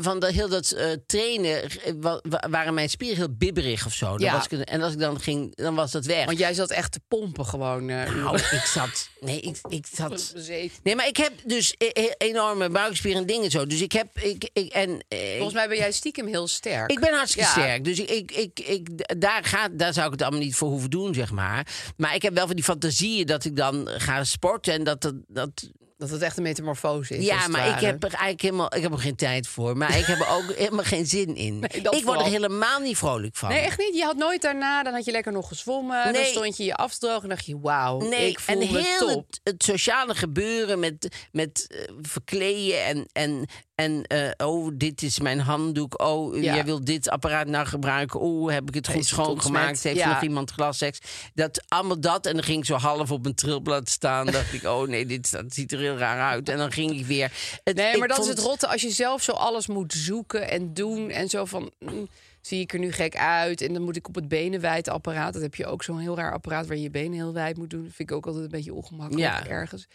B: van de, heel dat eh, trainen eh, wa- wa- waren mijn spieren heel bibberig of zo. Dan
E: Ja.
B: was ik- en als ik dan ging, dan was dat weg.
E: Want jij zat echt te pompen gewoon. eh, uren.
B: Nou, ik zat... Nee, ik, ik zat...
E: Bezeten.
B: Nee, maar ik heb dus e- e- enorme buikspieren en dingen zo. Dus ik heb... Ik, ik, en, eh,
E: Volgens mij ben jij stiekem heel sterk.
B: ik ben hartstikke
E: Ja.
B: sterk. Dus ik, ik, ik, ik- d- daar, gaat, daar zou ik het allemaal niet voor hoeven doen, zeg maar. Maar ik heb wel van die fantasieën dat ik dan ga sporten. En dat, dat, dat
E: Dat het echt een metamorfose is. als
B: ja,
E: het
B: maar ik
E: ware.
B: heb er eigenlijk helemaal, ik heb er geen tijd voor. Maar ik heb er ook helemaal geen zin in.
E: Nee,
B: ik
E: dat
B: word er
E: vooral.
B: helemaal niet vrolijk van.
E: Nee, echt niet. Je had nooit daarna, dan had je lekker nog gezwommen.
B: Nee.
E: Dan stond je je afdroog en dacht je, wauw,
B: Nee,
E: ik voel
B: en
E: me
B: heel
E: top.
B: Het, het sociale gebeuren met, met eh, verkleden en, en, en eh, oh, dit is mijn handdoek. Oh,
E: Ja.
B: jij wil dit apparaat nou gebruiken. Oh, heb ik het goed
E: Is het
B: schoongemaakt?
E: ontsmet?
B: Heeft
E: Ja.
B: nog iemand glasseks? Dat, allemaal dat. En dan ging ik zo half op een trilblad staan. dacht ik, oh nee, dit dat ziet er heel raar uit. En dan ging ik weer. Het-
E: Nee,
B: ik
E: maar dat is
B: vond-
E: het rotte als je zelf zo alles moet zoeken en doen. En zo van, mm, zie ik er nu gek uit? En dan moet ik op het benenwijdapparaat. Dat heb je ook zo'n heel raar apparaat waar je je benen heel wijd moet doen. Dat vind ik ook altijd een beetje ongemakkelijk
B: Ja.
E: ergens.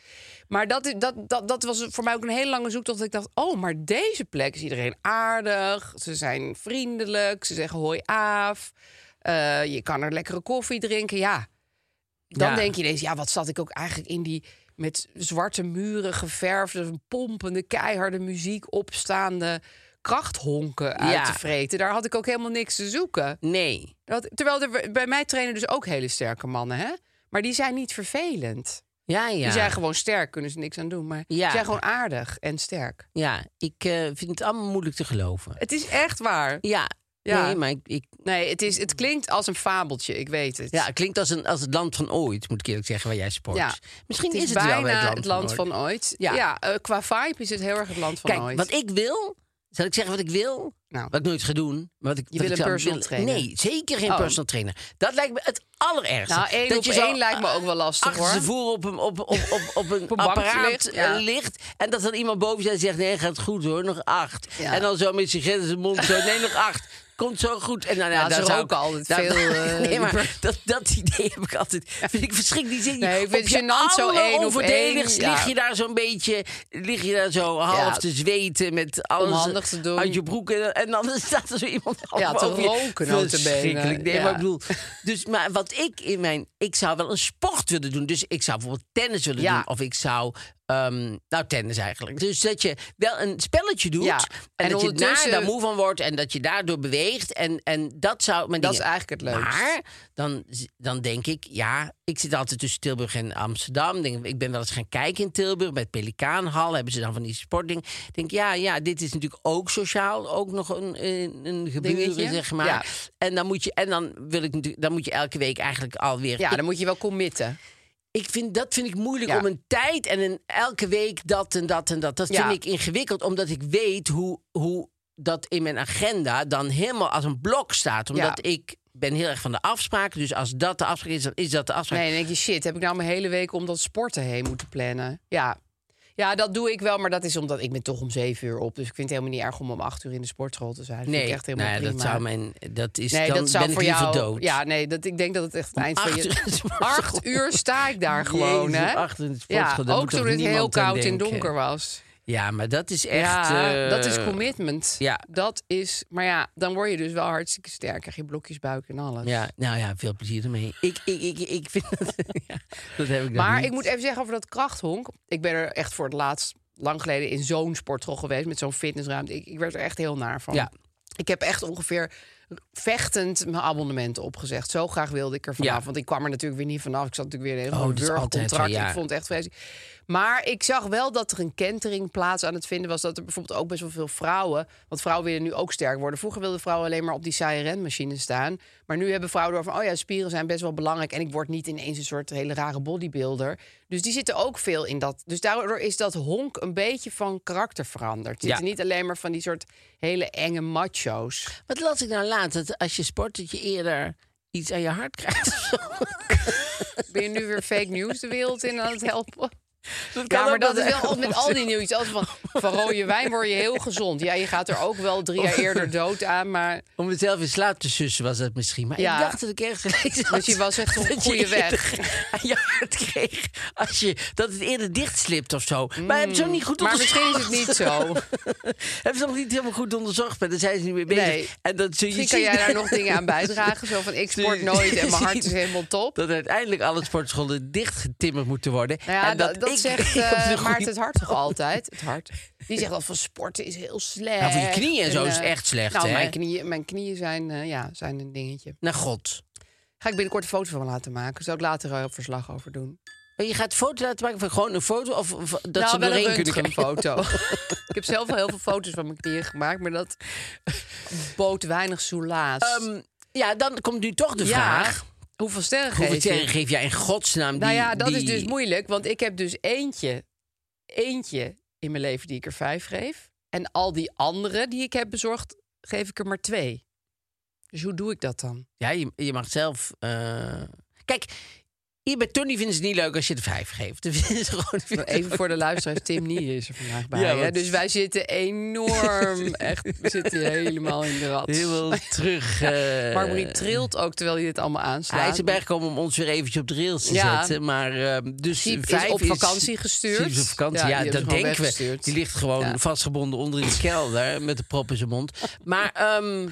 E: Maar dat, is- dat, dat, dat was voor mij ook een hele lange zoektocht. Dat ik dacht, oh, maar deze plek is iedereen aardig. Ze zijn vriendelijk. Ze zeggen hoi af. Eh, je kan er lekkere koffie drinken. Ja, dan
B: Ja.
E: denk je ineens, ja, wat zat ik ook eigenlijk in die met zwarte muren geverfde, pompende, keiharde muziek opstaande krachthonken uit
B: Ja.
E: te vreten. Daar had ik ook helemaal niks te zoeken.
B: Nee.
E: Dat, terwijl er bij mij trainen dus ook hele sterke mannen, hè? Maar die zijn niet vervelend.
B: Ja, ja.
E: Die zijn gewoon sterk, kunnen ze niks aan doen. Maar
B: Ja.
E: die zijn gewoon aardig en sterk.
B: Ja, ik eh, vind het allemaal moeilijk te geloven.
E: Het is echt waar.
B: Ja,
E: Ja.
B: nee, maar ik, ik,
E: Nee, het, is, het klinkt als een fabeltje, ik weet het.
B: ja, het klinkt als, een, als het land van ooit, moet ik eerlijk zeggen, waar jij sport.
E: Ja.
B: Misschien
E: het is,
B: is, het
E: bijna
B: wel weer het land,
E: van, ooit.
B: Ja.
E: Ja, eh, qua vibe is het heel erg het land van
B: Kijk,
E: ooit.
B: wat ik wil, zal ik zeggen wat ik wil?
E: Nou.
B: Wat ik nooit ga doen. maar Wat ik,
E: Je
B: wat
E: wil
B: ik
E: een
B: zou
E: personal
B: willen-
E: trainer?
B: Nee, zeker geen
E: Oh.
B: personal trainer. Dat lijkt me het allerergste.
E: Nou, één
B: dat
E: op
B: je zo
E: één lijkt me ook wel lastig,
B: achter
E: hoor.
B: zijn voer op een, op, op, op, op een
E: Op een bankje
B: apparaat
E: ligt,
B: eh,
E: ja.
B: ligt. En dat dan iemand boven zit en zegt, nee, gaat goed hoor, nog acht.
E: Ja.
B: En dan zo met sigaret in zijn mond zo, nee, nog acht. Komt zo goed. En nou, ja,
E: Ja,
B: daar
E: ze
B: zou
E: roken
B: ik-
E: altijd
B: daar-
E: veel, eh,
B: nee, maar
E: liever.
B: dat, dat idee heb ik altijd. Vind ik verschrikkelijk. Die zin,
E: Nee, ik vind
B: op
E: het gênant zo één op één,
B: alleroverdedigst
E: ja.
B: lig je daar zo'n beetje, lig je daar zo half
E: Ja.
B: te zweten met alles eh,
E: handig te doen.
B: uit je broek. En, en dan staat er zo iemand
E: Ja, te
B: over je.
E: roken, notabene.
B: Verschrikkelijk. Nee,
E: Ja.
B: maar ik bedoel, dus, maar wat ik in mijn... Ik zou wel een sport willen doen. Dus ik zou bijvoorbeeld tennis willen
E: Ja.
B: doen. Of ik zou... ehm, nou, tennis eigenlijk. Dus dat je wel een spelletje doet.
E: Ja.
B: En,
E: En
B: dat je daar,
E: ondertussen-
B: daar moe van wordt. En dat je daardoor beweegt. En, en dat zou... Mijn
E: Dat
B: dingen.
E: is eigenlijk het leukst.
B: Maar dan, dan denk ik, ja... Ik zit altijd tussen Tilburg en Amsterdam. Denk, ik ben wel eens gaan kijken in Tilburg. Bij het Pelikaanhal hebben ze dan van die sportding. Ik denk, ja, ja, dit is natuurlijk ook sociaal. Ook nog een, een, een gebeuren,
E: Dingetje.
B: zeg maar.
E: Ja.
B: En dan moet je, en dan wil ik natuurlijk, dan moet je elke week eigenlijk alweer.
E: Ja,
B: ik,
E: dan moet je wel committen.
B: ik vind, dat vind ik moeilijk
E: Ja.
B: om een tijd en een, elke week dat en dat en dat. Dat
E: Ja.
B: vind ik ingewikkeld, omdat ik weet hoe, hoe dat in mijn agenda dan helemaal als een blok staat. Omdat
E: Ja.
B: ik ben heel erg van de afspraken. Dus als dat de afspraak is, dan is dat de afspraak.
E: Nee, dan denk je, shit, heb ik nou mijn hele week om dat sporten heen moeten plannen? Ja. Ja, dat doe ik wel, maar dat is omdat ik ben toch om zeven uur op. Dus ik vind het helemaal niet erg om om acht uur in de sportschool te zijn. Dat vind
B: Nee,
E: ik echt helemaal
B: nou ja,
E: prima.
B: dat zou mijn. Dat is,
E: nee,
B: dan
E: dat zou
B: ben
E: voor
B: ik liever
E: jou.
B: dood.
E: Ja, nee, dat, ik denk dat het echt het eind van
B: acht uur in de
E: je.
B: sportschool.
E: acht uur sta ik daar gewoon,
B: Jezus,
E: hè?
B: acht uur in de
E: ja,
B: sportschool, daar
E: ook
B: moet toch
E: toen het heel
B: niemand aan
E: koud en
B: denken?
E: donker was.
B: Ja, maar dat is echt.
E: ja,
B: eh,
E: dat is commitment.
B: ja.
E: Dat is, maar ja, dan word je dus wel hartstikke sterk. Krijg je blokjes buik en alles.
B: Ja, nou ja, veel plezier ermee. Ik, ik, ik, ik vind dat... ja, dat heb ik dan
E: Maar
B: niet.
E: ik moet even zeggen over dat krachthonk. Ik ben er echt voor het laatst lang geleden in zo'n sportschool geweest met zo'n fitnessruimte. Ik, ik werd er echt heel naar van.
B: Ja.
E: Ik heb echt ongeveer vechtend mijn abonnement opgezegd. Zo graag wilde ik er vanaf.
B: Ja.
E: Want ik kwam er natuurlijk weer niet vanaf. Ik zat natuurlijk weer in een
B: Oh,
E: oh,
B: dat is altijd
E: burgercontract.
B: zo, ja.
E: Ik vond het echt vreselijk. Maar ik zag wel dat er een kentering plaats aan het vinden was. Dat er bijvoorbeeld ook best wel veel vrouwen... want vrouwen willen nu ook sterk worden. Vroeger wilden vrouwen alleen maar op die saaie renmachine staan. Maar nu hebben vrouwen door van... oh ja, spieren zijn best wel belangrijk... en ik word niet ineens een soort hele rare bodybuilder. Dus die zitten ook veel in dat. Dus daardoor is dat honk een beetje van karakter veranderd. Het
B: Ja.
E: zitten niet alleen maar van die soort hele enge macho's.
B: Wat las ik nou laat? Dat als je sport, dat je eerder iets aan je hart krijgt. of zo.
E: Ben je nu weer fake news de wereld in aan het helpen?
B: Dat kan
E: Ja, maar
B: ook
E: dat
B: wel
E: is
B: de
E: wel altijd met al die nieuws. Altijd van, van rode wijn word je heel gezond. Ja, je gaat er ook wel drie
B: Oh.
E: jaar eerder dood aan, maar...
B: Om mezelf in slaap te sussen was dat misschien. Maar
E: Ja.
B: ik dacht dat ik ergens gelezen had.
E: Dus je was echt op
B: dat
E: goede
B: je eerder
E: weg.
B: aan je hart kreeg. Als je, dat het eerder dichtslipt of zo. Maar hebben ze ook niet goed
E: Mm. Maar
B: onderzocht.
E: misschien is het niet zo.
B: hebben ze nog niet helemaal goed onderzocht. Maar daar zijn ze niet mee bezig.
E: Nee.
B: En dat zul je
E: Misschien kan
B: zien.
E: jij daar nog dingen aan bijdragen. Zo van, ik sport nooit en mijn hart is helemaal top.
B: Dat uiteindelijk alle sportscholen dichtgetimmerd moeten worden.
E: Nou ja,
B: en
E: dat, dat
B: ik
E: zegt
B: op de
E: eh,
B: goede
E: Maarten het hart toch altijd? Het hart. Die zegt al van sporten is heel slecht.
B: Nou, voor je knieën en zo is het
E: eh,
B: echt slecht,
E: Nou,
B: hè?
E: mijn knieën, mijn knieën zijn, eh, ja, zijn een dingetje.
B: Naar god.
E: Ga ik binnenkort een foto van laten maken. Zou ik later een verslag over doen.
B: En je gaat foto laten maken van gewoon een foto? Of, of dat ze
E: nou,
B: hem
E: wel
B: doorheen
E: een
B: kunnen kijken?
E: röntgenfoto. ik heb zelf al heel veel foto's van mijn knieën gemaakt, maar dat bood weinig soelaas.
B: Ehm, ja, dan komt nu toch de
E: Ja,
B: vraag.
E: hoeveel sterren
B: Hoeveel
E: geef je?
B: sterren geef jij in godsnaam die...
E: nou ja, dat is
B: die-
E: dus moeilijk, want ik heb dus eentje, eentje in mijn leven die ik er vijf geef. En al die andere die ik heb bezorgd, geef ik er maar twee. Dus hoe doe ik dat dan?
B: Ja, je, je mag zelf... eh, Kijk, hier bij Tony vinden ze het niet leuk als je de vijf geeft. Dat vinden ze gewoon...
E: Maar Even voor de luisteraars, Tim Nier is er vandaag bij.
B: Ja,
E: hè?
B: want-
E: Dus wij zitten enorm, echt, we zitten helemaal in de rat.
B: Heel veel terug... eh,
E: Marmarie trilt ook terwijl je dit allemaal aanslaat.
B: Hij is erbij gekomen om ons weer eventjes op de rails te
E: Ja.
B: zetten. Maar ehm, dus
E: Siep is
B: vijf
E: op vakantie gestuurd.
B: Siep is op vakantie,
E: Ja,
B: ja,
E: die hebben
B: dat
E: ze gewoon
B: denken we.
E: weggestuurd.
B: Die ligt gewoon
E: Ja.
B: vastgebonden onder in de kelder met de prop in zijn mond. Maar, ehm,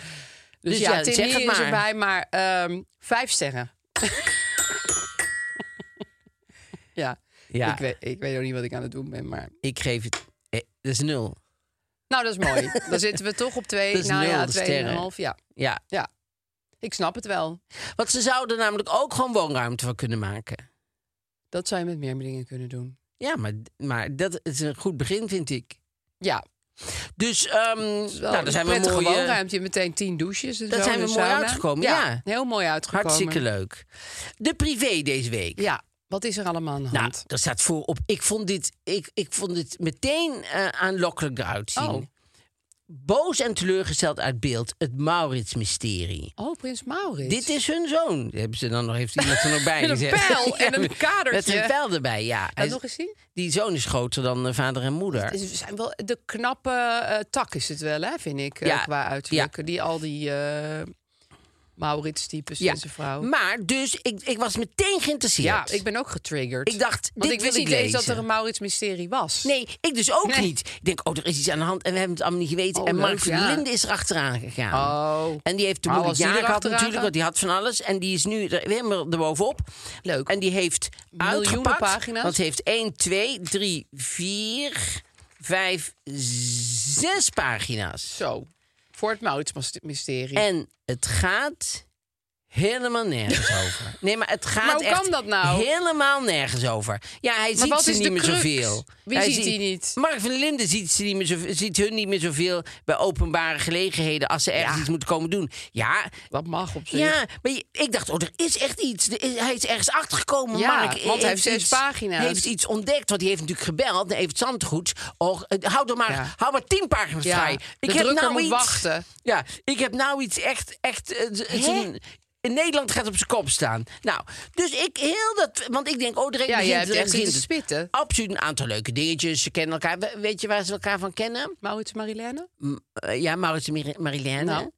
B: dus,
E: Dus,
B: ja,
E: ja, Tim
B: zeg
E: Nier
B: het maar.
E: is erbij, maar ehm, vijf sterren. ja,
B: Ja,
E: Ik, weet, ik weet ook niet wat ik aan het doen ben, maar...
B: ik geef het... eh, dat is nul.
E: Nou, dat is mooi. Dan zitten we toch op twee,
B: Dat is
E: nou
B: nul
E: ja,
B: de
E: tweeënhalf. Ja,
B: Ja,
E: ja, ik snap het wel.
B: want ze zouden namelijk ook gewoon woonruimte van kunnen maken.
E: Dat zou je met meer dingen kunnen doen.
B: Ja, maar, maar dat is een goed begin, vind ik.
E: Ja,
B: Dus, ehm
E: wel
B: nou, daar zijn we
E: prettige
B: mooi... eh,
E: woonruimte, meteen tien douches. En
B: Daar
E: zo,
B: zijn
E: en
B: we
E: een
B: mooi
E: sauna.
B: uitgekomen, ja.
E: Heel mooi uitgekomen.
B: Hartstikke leuk. De privé deze week.
E: Ja, wat is er allemaal aan de
B: Nou,
E: hand?
B: er staat voor op. Ik vond dit, ik, ik vond dit meteen eh, aanlokkelijk eruit zien.
E: Oh.
B: Boos en teleurgesteld uit beeld. Het Maurits-mysterie.
E: Oh, Prins Maurits.
B: Dit is hun zoon. Hebben ze dan nog, heeft iemand er nog bij
E: Met een
B: gezet.
E: pijl en een
B: met- Met
E: kadertje.
B: een pijl erbij, ja. Hij
E: Laat
B: is-
E: nog eens zien.
B: die zoon is groter dan eh, vader en moeder.
E: Het is- zijn wel de knappe eh, tak is het wel, hè, vind ik, eh,
B: Ja,
E: qua uiterlijk. Die al die eh Maurits-types
B: Ja.
E: en zijn vrouw.
B: Maar dus, ik, ik was meteen geïnteresseerd.
E: ja, ik ben ook getriggerd.
B: Ik dacht, dit
E: Want ik wist
B: wil
E: niet
B: ik
E: eens dat
B: lezen.
E: er een Maurits-mysterie was.
B: Nee, ik dus ook
E: Nee.
B: niet. Ik denk, oh, er is iets aan de hand en we hebben het allemaal niet geweten.
E: Oh,
B: en
E: leuk,
B: Mark van
E: ja.
B: Linden is erachteraan gegaan.
E: Oh.
B: En die heeft de
E: Maar
B: moeilijk
E: was die
B: jaar gehad
E: erachteraan
B: natuurlijk,
E: gegaan?
B: want die had van alles. En die is nu er helemaal erbovenop.
E: Leuk.
B: En die heeft
E: Miljoenen
B: uitgepakt.
E: pagina's.
B: Want ze heeft 1, 2, 3, 4, 5, 6 pagina's.
E: Zo. Voor het Maurits-mysterie.
B: En het gaat helemaal nergens over. Nee, maar het gaat
E: Maar hoe
B: echt
E: kan dat nou?
B: helemaal nergens over. Ja, hij ziet
E: wat
B: ze
E: is
B: niet
E: de
B: meer
E: crux?
B: zoveel.
E: Wie ziet die niet?
B: Mark van Linden ziet, ze niet meer zoveel, ziet hun niet meer zoveel bij openbare gelegenheden... als ze ergens iets moeten komen doen. Ja,
E: Dat mag op zich.
B: ja, maar je- ik dacht, oh, er is echt iets. Er is- hij is ergens achtergekomen,
E: Ja,
B: Mark.
E: want hij heeft zes
B: iets-
E: pagina's.
B: heeft iets ontdekt, want die heeft natuurlijk gebeld. naar Evert Zandgoed. Och, eh, hou, er maar,
E: Ja.
B: hou maar tien pagina's
E: Ja,
B: vrij. nou
E: de drukker moet wachten.
B: Ja, ik heb nou iets echt... echt eh, z- zo'n- in Nederland gaat op zijn kop staan. Nou, dus ik heel dat... Want ik denk, oh, er
E: Ja,
B: begint,
E: jij hebt
B: er
E: echt zitten
B: begint het.
E: spitten.
B: Absoluut een aantal leuke dingetjes. Ze kennen elkaar. We- Weet je waar ze elkaar van kennen?
E: Maurits Marilène?
B: Eh, ja, Maurits en Mar- Marilène.
E: Nou.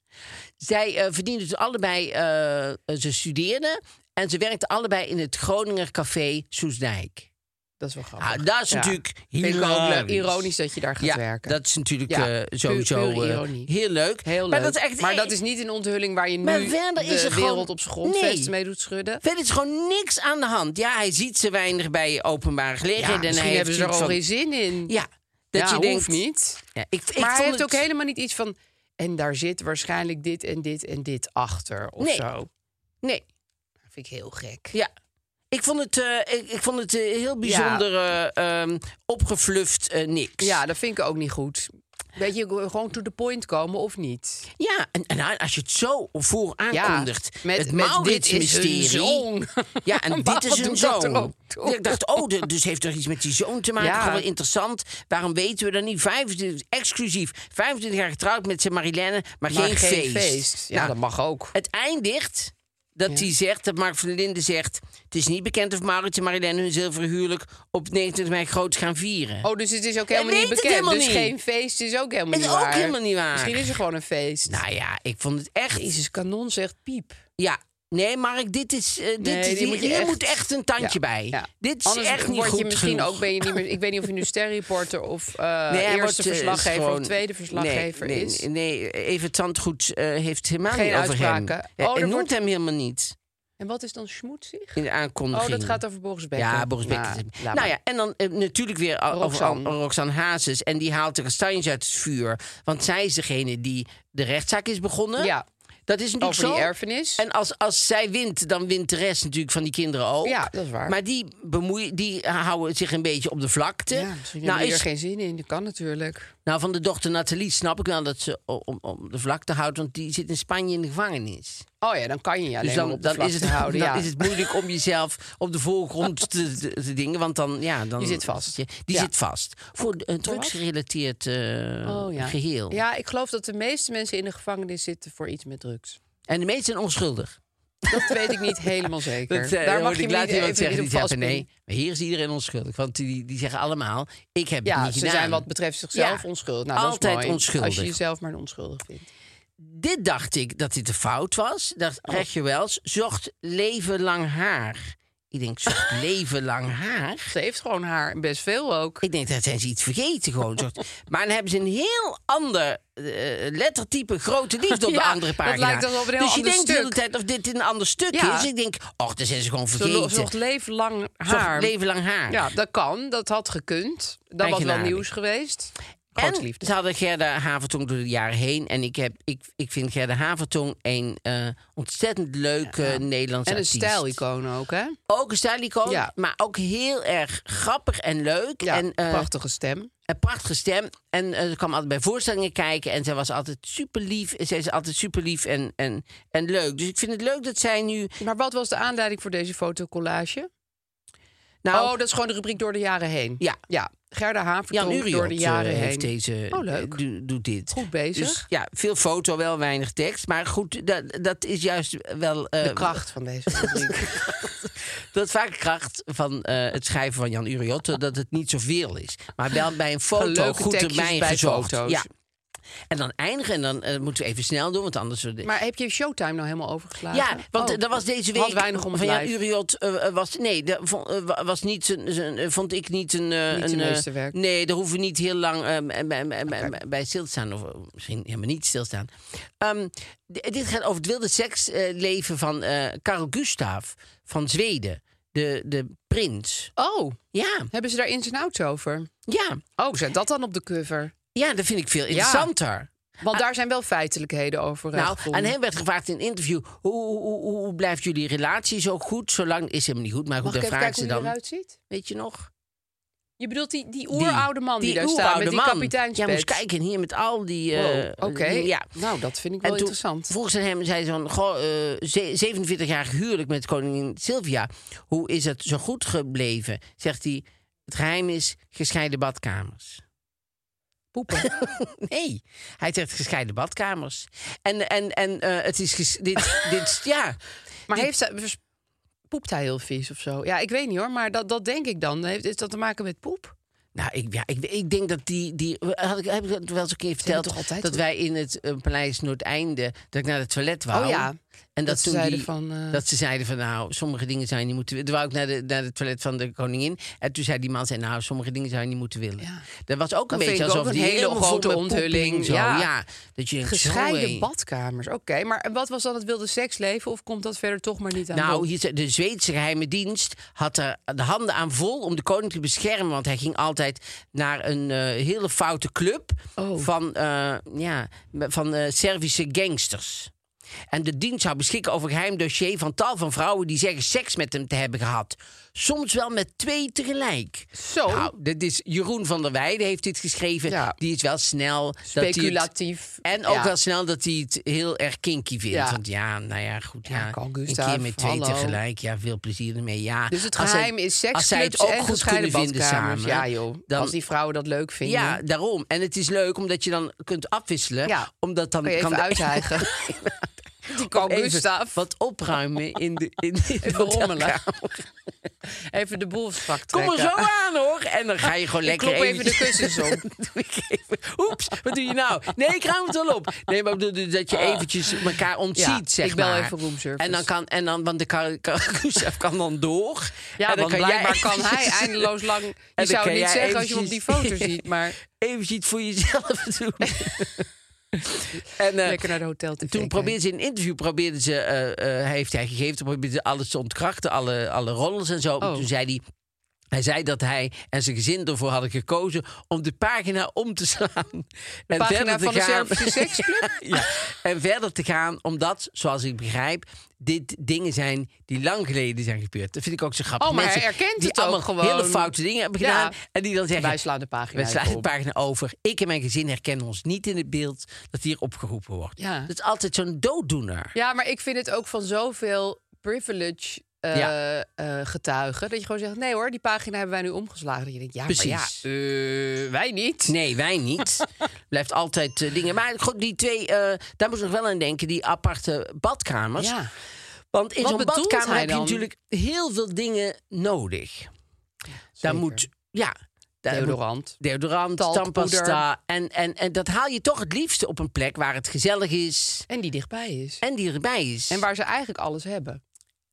B: Zij eh, verdienden het allebei, eh, eh, ze studeerden en ze werkten allebei in het Groninger Café Soesdijk.
E: Dat is wel grappig.
B: Ah, dat is
E: Ja.
B: natuurlijk
E: Vind ik ook leuk.
B: hilarisch.
E: Ironisch dat je daar gaat
B: ja,
E: werken.
B: dat is natuurlijk
E: Ja,
B: eh,
E: pu-
B: sowieso
E: pure
B: eh,
E: ironie.
B: heel leuk.
E: Heel leuk.
B: Maar dat is echt... e-
E: Maar dat is niet een onthulling waar je nu
B: Maar verder is
E: de
B: er gewoon-
E: wereld op zijn grondvest
B: Nee.
E: mee doet schudden.
B: Verder is gewoon niks aan de hand. Ja, hij ziet ze weinig bij openbare
E: Ja,
B: gelegenheden. en hij
E: misschien hebben
B: heeft
E: ze er al
B: zoiets
E: geen zin in.
B: van- Ja, dat
E: Ja,
B: je
E: hoeft
B: denkt...
E: niet.
B: Ja, ik, ik
E: maar hij
B: vond
E: heeft
B: het-
E: ook helemaal niet iets van... En daar zit waarschijnlijk dit en dit en dit achter of
B: Nee.
E: zo.
B: Nee,
E: Dat vind ik heel gek.
B: ja. Ik vond het, eh, ik, ik vond het eh, heel bijzonder eh, ehm, opgefluft eh, niks.
E: Ja, dat vind ik ook niet goed. Weet je, gewoon to the point komen of niet?
B: Ja, en, en nou, als je het zo voor aankondigt.
E: Ja, met-
B: het
E: met
B: Maurits
E: dit is hun
B: mysterie.
E: zoon.
B: Ja, en
E: Maar
B: dit is
E: wat
B: een
E: doet dat er
B: zoon.
E: ook toe?
B: Ik dacht, oh, de- dus heeft er iets met die zoon te maken.
E: Ja.
B: Gewoon wel interessant. Waarom weten we dat niet? 25, exclusief. 25 jaar getrouwd met zijn Marilène, maar,
E: Maar
B: geen, feest.
E: Ja,
B: Nou,
E: dat mag ook.
B: Het eindigt dat hij zegt, dat Mark van der Linden zegt... het is niet bekend of Maurits en Marilène hun zilveren huwelijk... op 29 mei groot gaan vieren.
E: Oh, dus het is ook helemaal
B: weet
E: niet
B: het
E: bekend.
B: helemaal
E: dus
B: niet.
E: geen feest is ook helemaal
B: Het is
E: niet
B: ook
E: waar.
B: helemaal niet waar.
E: Misschien is er gewoon een feest.
B: Nou ja, ik vond het echt...
E: Jezus, kanon zegt piep.
B: Ja. Nee, Mark, dit is. eh, dit
E: Nee,
B: is
E: die
B: hier
E: moet
B: moet,
E: je echt-
B: moet echt een tandje
E: Ja,
B: bij.
E: ja.
B: Dit is
E: Anders
B: echt niet
E: word
B: goed
E: je misschien
B: genoeg.
E: ook ben je niet meer. Ik weet niet of je nu sterreporter of eh
B: hij
E: eerste
B: wordt, eh,
E: verslaggever
B: gewoon-
E: of tweede verslaggever
B: nee, nee,
E: is.
B: Nee, even het zandgoed eh, heeft helemaal
E: Geen
B: niet over hem.
E: uitspraken.
B: Ja,
E: Oh,
B: en
E: er
B: noemt
E: wordt-
B: hem helemaal niet
E: En wat is dan schmoedzig?
B: in de
E: Oh,
B: aankondiging.
E: dat gaat over Boris Becker.
B: Ja, Boris Becker.
E: Nou, laat maar.
B: nou ja, en dan eh, natuurlijk weer o- over
E: Roxanne.
B: Al- Roxanne Hazes. En die haalt de kastanjes uit het vuur. Want zij is degene die de rechtszaak is begonnen.
E: Ja,
B: Dat is natuurlijk
E: over die
B: zo.
E: erfenis.
B: En als, als zij wint, dan wint de rest natuurlijk van die kinderen ook.
E: Ja, dat is waar.
B: Maar die, bemoeien, die houden zich een beetje op de vlakte.
E: ja, misschien nou,
B: eh, is-
E: er geen zin in. Dat kan natuurlijk.
B: nou, van de dochter Nathalie snap ik wel dat ze o- om, om de vlakte houdt. Want die zit in Spanje in de gevangenis.
E: Oh ja, dan kan je je alleen
B: dus
E: maar
B: dan,
E: op de
B: dan,
E: vlakte
B: is het,
E: houden.
B: dan
E: ja.
B: is het moeilijk om jezelf op de voorgrond te, te, te dingen. Want dan, ja, dan...
E: Je zit vast.
B: je- die
E: Ja.
B: zit vast. Voor een drugsgerelateerd eh,
E: Oh, ja.
B: geheel.
E: Ja, ik geloof dat de meeste mensen in de gevangenis zitten voor iets met drugs.
B: En de meesten zijn onschuldig.
E: Dat weet ik niet helemaal zeker.
B: Dat, eh,
E: Daar mag
B: hoorde
E: je
B: ik
E: me
B: laat
E: niet even
B: iemand zeggen
E: niet
B: die
E: op
B: zeggen, nee,
E: vastpinnen.
B: maar hier is iedereen onschuldig. Want die, die zeggen allemaal, ik heb het
E: Ja,
B: niet
E: ze
B: gedaan.
E: zijn wat betreft zichzelf
B: Ja,
E: onschuldig. Nou, dat is
B: altijd
E: mooi, Als je
B: onschuldig.
E: jezelf maar een onschuldig vindt.
B: Dit dacht ik dat dit een fout was. Dacht
E: Oh.
B: Regje Wels, zocht leven lang haar. Ik denk, zocht leven lang haar?
E: Ze heeft gewoon haar best veel ook.
B: Ik denk, dat zijn ze iets vergeten gewoon. Zocht- Maar dan hebben ze een heel ander eh, lettertype grote liefde op de
E: Ja,
B: andere
E: dat
B: pagina.
E: lijkt dan op een heel
B: dus je
E: ander
B: denkt de hele
E: stuk.
B: tijd of dit een ander stuk
E: Ja.
B: is. Ik denk, och, dat zijn ze gewoon
E: Ze lo-
B: vergeten.
E: ze zocht leven lang
B: Zocht
E: haar.
B: leven lang haar.
E: Ja, dat kan. Dat had gekund. Dat was wel
B: Eigenaardig.
E: nieuws geweest.
B: En
E: Grote liefde.
B: ze hadden Gerda Havertong door de jaren heen. En ik, heb, ik, ik vind Gerda Havertong een eh, ontzettend leuke Nederlandse
E: En een
B: artiest.
E: stijlicoon ook, hè?
B: Ook een stijlicoon,
E: Ja.
B: maar ook heel erg grappig en leuk.
E: Ja,
B: en, eh,
E: prachtige stem.
B: Een prachtige stem. En eh, ze kwam altijd bij voorstellingen kijken. En zij was altijd super lief. Zij is altijd super lief en, en, en leuk. Dus ik vind het leuk dat zij nu...
E: Maar wat was de aanleiding voor deze fotocollage?
B: Nou,
E: oh, dat is gewoon de rubriek door de jaren heen.
B: Ja.
E: ja. Gerda
B: Jan
E: Havertong
B: Uriot
E: door de jaren
B: eh,
E: heen.
B: heeft deze.
E: Oh, leuk.
B: eh, do- doet dit.
E: Goed bezig.
B: Dus, ja, veel foto, wel weinig tekst. Maar goed, dat, dat is juist wel. eh,
E: De kracht van deze rubriek.
B: Dat is vaak de kracht van eh, het schrijven van Jan Uriot. Dat het niet zoveel is. Maar wel bij een foto
E: Leuke
B: goed
E: tekstjes
B: erbij
E: bij
B: gezocht.
E: foto's.
B: Ja. En dan eindigen. En dan eh, moeten we even snel doen, want anders. we de-
E: maar heb je Showtime nou helemaal overgeslagen?
B: Ja, want
E: Oh.
B: eh, dat was deze week.
E: Had weinig om het
B: van Jan
E: lijf.
B: Uriot eh, eh, was. Nee, dat vond, eh, wa- was niet zijn- zijn- eh, vond ik niet een. eh,
E: Niet
B: een
E: zijn
B: eh,
E: meesterwerk.
B: nee, daar hoeven we niet heel lang eh, bij- bij- bij- bij- bij stil te staan. Of eh, misschien helemaal niet stilstaan. Ehm, d- dit gaat over het wilde seksleven van eh Carl Gustav van Zweden. De, de prins.
E: Oh,
B: Ja,
E: hebben ze daar ins en outs over?
B: ja,
E: Oh, zet dat dan op de cover.
B: ja, dat vind ik veel interessanter.
E: Want daar zijn wel feitelijkheden over. eh,
B: Nou,
E: gevonden.
B: aan hem werd gevraagd in een interview: hoe, hoe, hoe, hoe blijft jullie relatie zo goed? Zolang is hem niet goed, maar goed,
E: Mag ik
B: dan
E: even
B: vraagt
E: kijken
B: ze
E: hoe hij
B: dan.
E: eruit ziet?
B: Weet je nog?
E: Je bedoelt die, die oeroude man die, daar staat
B: oeroude
E: met die
B: man.
E: kapiteinspet?
B: Ja, moest kijken hier met al die...
E: Wow,
B: eh,
E: Oké,
B: dingen, ja.
E: nou dat vind ik
B: En
E: wel
B: toen
E: interessant.
B: vroeg ze hem, zei ze van, goh, eh, ze- 47-jarig huwelijk met koningin Sylvia. Hoe is het zo goed gebleven? Zegt hij, het geheim is gescheiden badkamers.
E: Poepen.
B: Nee, hij zegt gescheiden badkamers. En, en, en eh, het is, ges- dit, dit, ja,
E: maar heeft ze, vers- poept hij heel vies of zo? Ja, ik weet niet hoor, maar dat, dat denk ik dan. Heeft is dat te maken met poep?
B: Nou, ik, ja, ik, ik denk dat die... die had ik, heb ik dat wel eens een keer verteld?
E: toch altijd
B: dat
E: goed?
B: wij in het eh, Paleis Noordeinde... dat ik naar het toilet wou.
E: Oh ja.
B: En dat,
E: ze
B: toen
E: zeiden
B: die-
E: van, eh,
B: dat ze zeiden van, nou, sommige dingen zou je niet moeten... Toen wou ik naar, de, naar het toilet van de koningin. En toen zei die man, zei, nou, sommige dingen zou je niet moeten willen.
E: Ja.
B: Dat was ook een
E: Dat vind
B: beetje
E: ik ook
B: alsof
E: een
B: die
E: hele
B: helemaal
E: grote
B: vol met poep
E: onthulling.
B: hing, Zo. Ja.
E: Ja.
B: dat je denkt, zo,
E: Gescheiden
B: hé.
E: badkamers, oké. Maar wat was dan het wilde seksleven? Of komt dat verder toch maar niet aan
B: Nou,
E: bod?
B: hier zei- de Zweedse geheime dienst had er de handen aan vol om de koning te beschermen. Want hij ging altijd naar een eh, hele foute club
E: Oh.
B: van, eh, ja, van eh, Servische gangsters. En de dienst zou beschikken over een geheim dossier van tal van vrouwen die zeggen seks met hem te hebben gehad. Soms wel met twee tegelijk.
E: Zo.
B: Nou, dit is Jeroen van der Weijden heeft dit geschreven.
E: Ja.
B: Die is wel snel. dat hij het-
E: speculatief.
B: en ook
E: Ja.
B: wel snel dat hij het heel erg kinky vindt.
E: Ja.
B: Want ja, nou ja, goed. Ja,
E: Ja, kan
B: een
E: Gustav,
B: keer met twee
E: hallo.
B: tegelijk. Ja, veel plezier ermee. Ja.
E: Dus het
B: Als zij-
E: geheim is
B: Als zij het
E: seksclubs
B: ook
E: en
B: goed kunnen
E: gescheiden
B: vinden
E: badkamers.
B: samen.
E: ja joh,
B: Dan,
E: als die vrouwen dat leuk vinden.
B: ja, daarom. En het is leuk omdat je dan kunt afwisselen.
E: Ja.
B: Omdat dan
E: kan je even
B: kan de-
E: uithijgen. die kan
B: even
E: Gustav.
B: wat opruimen in de in, in de
E: Even rommelen.
B: hotelkamer.
E: Even de boel strak
B: Kom
E: trekken.
B: er zo aan hoor. En dan ga je gewoon
E: Ik
B: lekker
E: klop even de kussens om.
B: Doe ik even- Oeps, wat doe je nou? Nee, ik ruim het wel op. Nee, maar ik bedoel dat je eventjes elkaar ontziet,
E: Ah. Ja,
B: zeg
E: ik bel
B: maar.
E: even roomservice.
B: En dan kan, en dan, want de kar- kar- Gustav kan dan door.
E: Ja,
B: en dan
E: want
B: kan jij
E: blijkbaar kan hij
B: eventjes-
E: eindeloos lang... Je
B: dan
E: zou
B: kan
E: het niet
B: jij
E: zeggen als je hem op die
B: eventjes-
E: foto ziet, maar...
B: Eventjes iets voor jezelf doen. en, eh,
E: Lekker naar de hotel te
B: toen probeerde ze in een interview, probeerde ze, eh, eh, hij heeft hij gegeven, toen probeerde ze alles te ontkrachten, alle, alle rollen en zo. Maar
E: Oh.
B: Toen zei hij, hij zei dat hij en zijn gezin ervoor hadden gekozen om de pagina om te slaan. De en
E: pagina van de Servische
B: service
E: seksclub?
B: ja. En verder te gaan, omdat, zoals ik begrijp, dit dingen zijn die lang geleden zijn gebeurd. Dat vind ik ook zo grappig.
E: Oh, maar hij
B: Mensen
E: herkent
B: die
E: het ook
B: allemaal
E: gewoon.
B: hele foute dingen hebben
E: Ja.
B: gedaan. En die dan zeggen,
E: Wij slaan de pagina
B: we slaan
E: even
B: de
E: om.
B: pagina over. Ik en mijn gezin herkennen ons niet in het beeld dat hier opgeroepen wordt.
E: Ja.
B: Dat is altijd zo'n dooddoener.
E: Ja, maar ik vind het ook van zoveel privilege eh,
B: Ja.
E: eh, getuigen... dat je gewoon zegt, nee hoor, die pagina hebben wij nu omgeslagen. Dat je denkt, ja, maar
B: Precies.
E: ja, eh, wij niet.
B: Nee, wij niet. Blijft altijd eh, dingen. Maar goed, die twee, eh, daar moet ik nog wel aan denken, die aparte badkamers.
E: Ja.
B: Want in
E: Wat
B: zo'n
E: bedoelt
B: badkamer
E: hij
B: heb je
E: dan?
B: natuurlijk heel veel dingen nodig. Daar
E: zeker.
B: moet, ja, daar moet
E: Deodorant.
B: deodorant,
E: Talkpoeder.
B: tandpasta. En, en, en dat haal je toch het liefste op een plek waar het gezellig is
E: En die dichtbij is.
B: en die erbij is.
E: En waar ze eigenlijk alles hebben.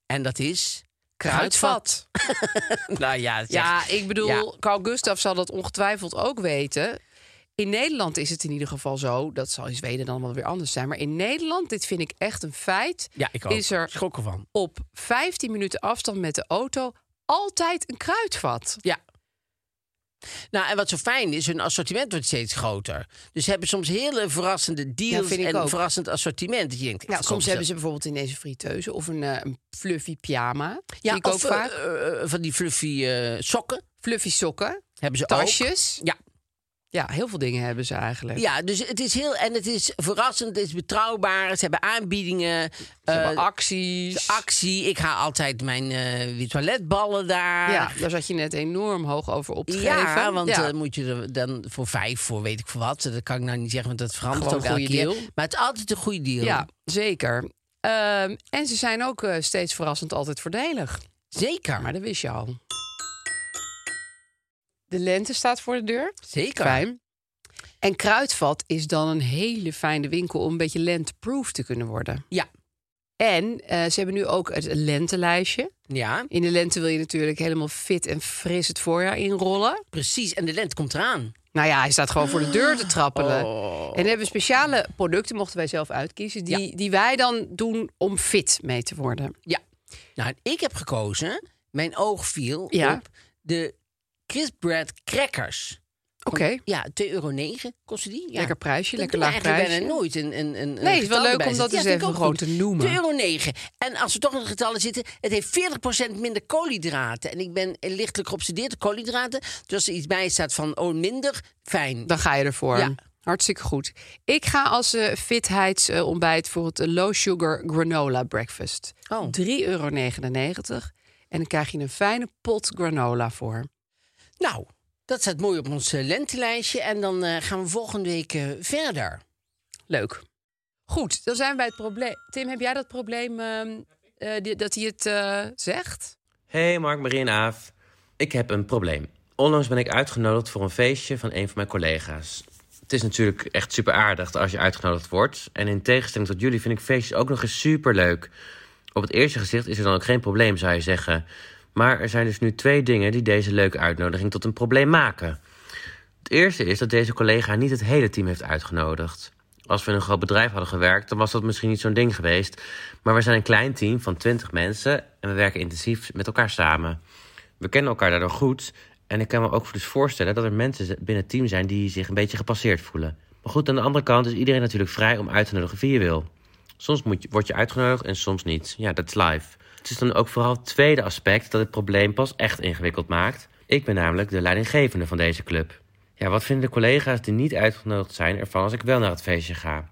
B: En dat is kruidvat. nou ja, zeg.
E: Ja, ik bedoel,
B: Ja.
E: Carl Gustaf zal dat ongetwijfeld ook weten. In Nederland is het in ieder geval zo. Dat zal in Zweden dan wel weer anders zijn. Maar in Nederland, dit vind ik echt een feit.
B: ja, ik ook.
E: Is er
B: schrokken van.
E: op 15 minuten afstand met de auto altijd een kruidvat?
B: Ja. Nou, en wat zo fijn is, hun assortiment wordt steeds groter. Dus ze hebben soms hele verrassende deals
E: vind ik
B: en
E: ook.
B: verrassend assortiment. Dat je denkt,
E: Ja,
B: verkopen
E: Nou, soms hebben ze bijvoorbeeld ineens een friteuse of een, eh, een fluffy pyjama.
B: ja,
E: Zie ik ook
B: of, eh,
E: vaak.
B: eh, van die fluffy eh, sokken
E: fluffy sokken,
B: hebben ze ook.
E: tasjes.
B: Ja.
E: Ja, heel veel dingen hebben ze eigenlijk.
B: Ja, dus het is heel... En het is verrassend, het is betrouwbaar. Ze hebben aanbiedingen.
E: Ze
B: eh,
E: hebben acties.
B: de actie. Ik ga altijd mijn eh toiletballen daar.
E: Ja, daar zat je net enorm hoog over op te
B: Ja,
E: geven.
B: want
E: Ja.
B: eh, moet je er dan voor vijf, voor weet ik voor wat. Dat kan ik nou niet zeggen, want dat verandert
E: Gewoon
B: ook
E: een
B: elke
E: goede
B: keer.
E: deal.
B: Maar het is altijd een goede deal.
E: Ja, zeker. Ehm, en ze zijn ook eh, steeds verrassend altijd voordelig.
B: Zeker.
E: Maar dat wist je al. De lente staat voor de deur.
B: Zeker.
E: Fijn. En Kruidvat is dan een hele fijne winkel om een beetje lenteproof te kunnen worden.
B: Ja.
E: En eh, ze hebben nu ook het lentelijstje.
B: Ja,
E: In de lente wil je natuurlijk helemaal fit en fris het voorjaar inrollen.
B: precies. En de lente komt eraan.
E: Nou ja, hij staat gewoon voor de deur te trappelen.
B: Oh.
E: En dan hebben we speciale producten, mochten wij zelf uitkiezen, die, die wij dan doen om fit mee te worden.
B: Ja. Nou, en ik heb gekozen, mijn oog viel
E: Ja.
B: op de crisp bread crackers.
E: Oké,
B: Ja, 2,9 euro kostte die. Ja.
E: lekker prijsje,
B: Dat
E: lekker
B: doen we
E: laag
B: eigenlijk
E: prijsje.
B: bijna nooit een, een, een
E: Nee, het is wel leuk om dat
B: te
E: eens even gewoon te noemen.
B: 2,9 euro. En als we toch in de getallen zitten, het heeft 40% minder koolhydraten. En ik ben lichtelijk geobsedeerd door koolhydraten. Dus als er iets bij staat van, oh, minder, fijn.
E: Dan ga je ervoor.
B: Ja.
E: Hartstikke goed. Ik ga als eh, fitheidsontbijt voor het eh, low sugar granola breakfast.
B: Oh.
E: 3,99 euro. En dan krijg je een fijne pot granola voor.
B: Nou, dat staat mooi op ons eh, lentelijstje. En dan eh, gaan we volgende week eh, verder.
E: Leuk. Goed, dan zijn we bij het probleem. Tim, heb jij dat probleem ehm, eh, die- dat hij het eh, zegt?
F: Hey Mark, Marie en Aaf. Ik heb een probleem. Onlangs ben ik uitgenodigd voor een feestje van een van mijn collega's. het is natuurlijk echt super aardig als je uitgenodigd wordt. En in tegenstelling tot jullie vind ik feestjes ook nog eens super leuk. Op het eerste gezicht is er dan ook geen probleem, zou je zeggen. Maar er zijn dus nu twee dingen die deze leuke uitnodiging tot een probleem maken. Het eerste is dat deze collega niet het hele team heeft uitgenodigd. Als we in een groot bedrijf hadden gewerkt, dan was dat misschien niet zo'n ding geweest. Maar we zijn een klein team van 20 mensen en we werken intensief met elkaar samen. We kennen elkaar daardoor goed en ik kan me ook dus voorstellen dat er mensen binnen het team zijn die zich een beetje gepasseerd voelen. Maar goed, aan de andere kant is iedereen natuurlijk vrij om uit te nodigen wie je wil. Soms moet je, word je uitgenodigd en soms niet. Ja, dat is live. Het is dan ook vooral het tweede aspect dat het probleem pas echt ingewikkeld maakt. Ik ben namelijk de leidinggevende van deze club. Ja, wat vinden de collega's die niet uitgenodigd zijn ervan als ik wel naar het feestje ga?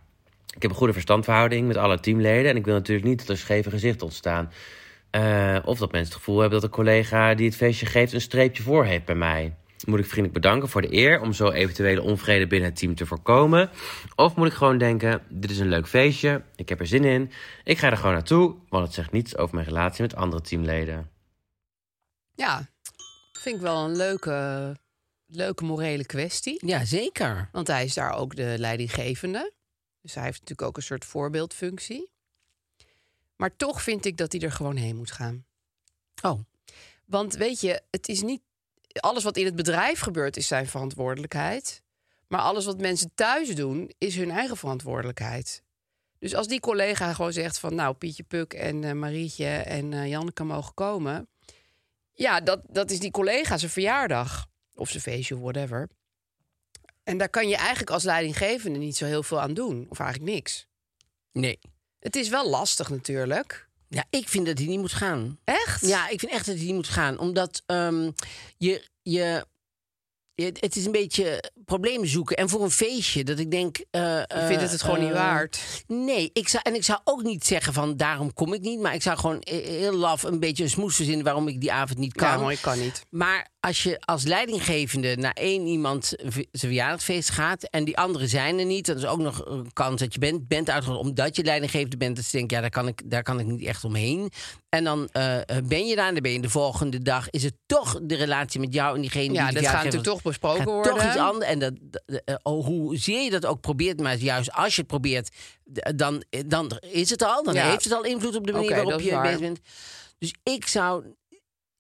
F: Ik heb een goede verstandhouding met alle teamleden en ik wil natuurlijk niet dat er scheve gezichten ontstaan. Eh, of dat mensen het gevoel hebben dat een collega die het feestje geeft een streepje voor heeft bij mij. Moet ik vriendelijk bedanken voor de eer om zo eventuele onvrede binnen het team te voorkomen? Of moet ik gewoon denken: dit is een leuk feestje, ik heb er zin in, ik ga er gewoon naartoe, want het zegt niets over mijn relatie met andere teamleden.
E: Ja, vind ik wel een leuke, leuke morele kwestie.
B: Ja, zeker.
E: Want hij is daar ook de leidinggevende. Dus hij heeft natuurlijk ook een soort voorbeeldfunctie. Maar toch vind ik dat hij er gewoon heen moet gaan.
B: Oh,
E: Want weet je, het is niet. Alles wat in het bedrijf gebeurt is zijn verantwoordelijkheid. Maar alles wat mensen thuis doen is hun eigen verantwoordelijkheid. Dus als die collega gewoon zegt van nou Pietje Puk en eh, Marietje en eh, Janneke mogen komen. Ja, dat, dat is die collega zijn verjaardag of zijn feestje, whatever. En daar kan je eigenlijk als leidinggevende niet zo heel veel aan doen. Of eigenlijk niks.
B: nee.
E: Het is wel lastig natuurlijk.
B: Ja, ik vind dat hij niet moet gaan.
E: Echt?
B: Ja, ik vind echt dat hij niet moet gaan. Omdat ehm, je, je, je- Het is een beetje problemen zoeken. En voor een feestje, dat ik denk. eh,
E: Ik vind het het gewoon
B: eh,
E: niet waard.
B: Nee, ik zou, en ik zou ook niet zeggen van daarom kom ik niet. Maar ik zou gewoon eh, heel laf een beetje een smoes verzinnen waarom ik die avond niet kan.
E: Ja, mooi, kan niet.
B: Maar als je als leidinggevende naar één iemand v- zijn verjaardagsfeest gaat en die anderen zijn er niet, dan is ook nog een kans dat je bent, bent uitgenodigd omdat je leidinggevende bent. Dat je denkt, ja, daar kan ik, daar kan ik niet echt omheen. En dan eh, ben je daar en dan ben je de volgende dag. Is het toch de relatie met jou en diegene
E: Ja,
B: die
E: dat
B: de
E: gaat
B: verjaardag
E: natuurlijk toch besproken
B: gaat
E: worden.
B: Toch iets anders. En dat, dat- eh, oh, hoezeer je dat ook probeert, maar juist als je het probeert, d- dan, eh, dan is het al. Dan
E: Ja.
B: heeft het al invloed op de manier
E: Oké,
B: waarop
E: dat is
B: je
E: waar.
B: bezig bent. Dus ik zou,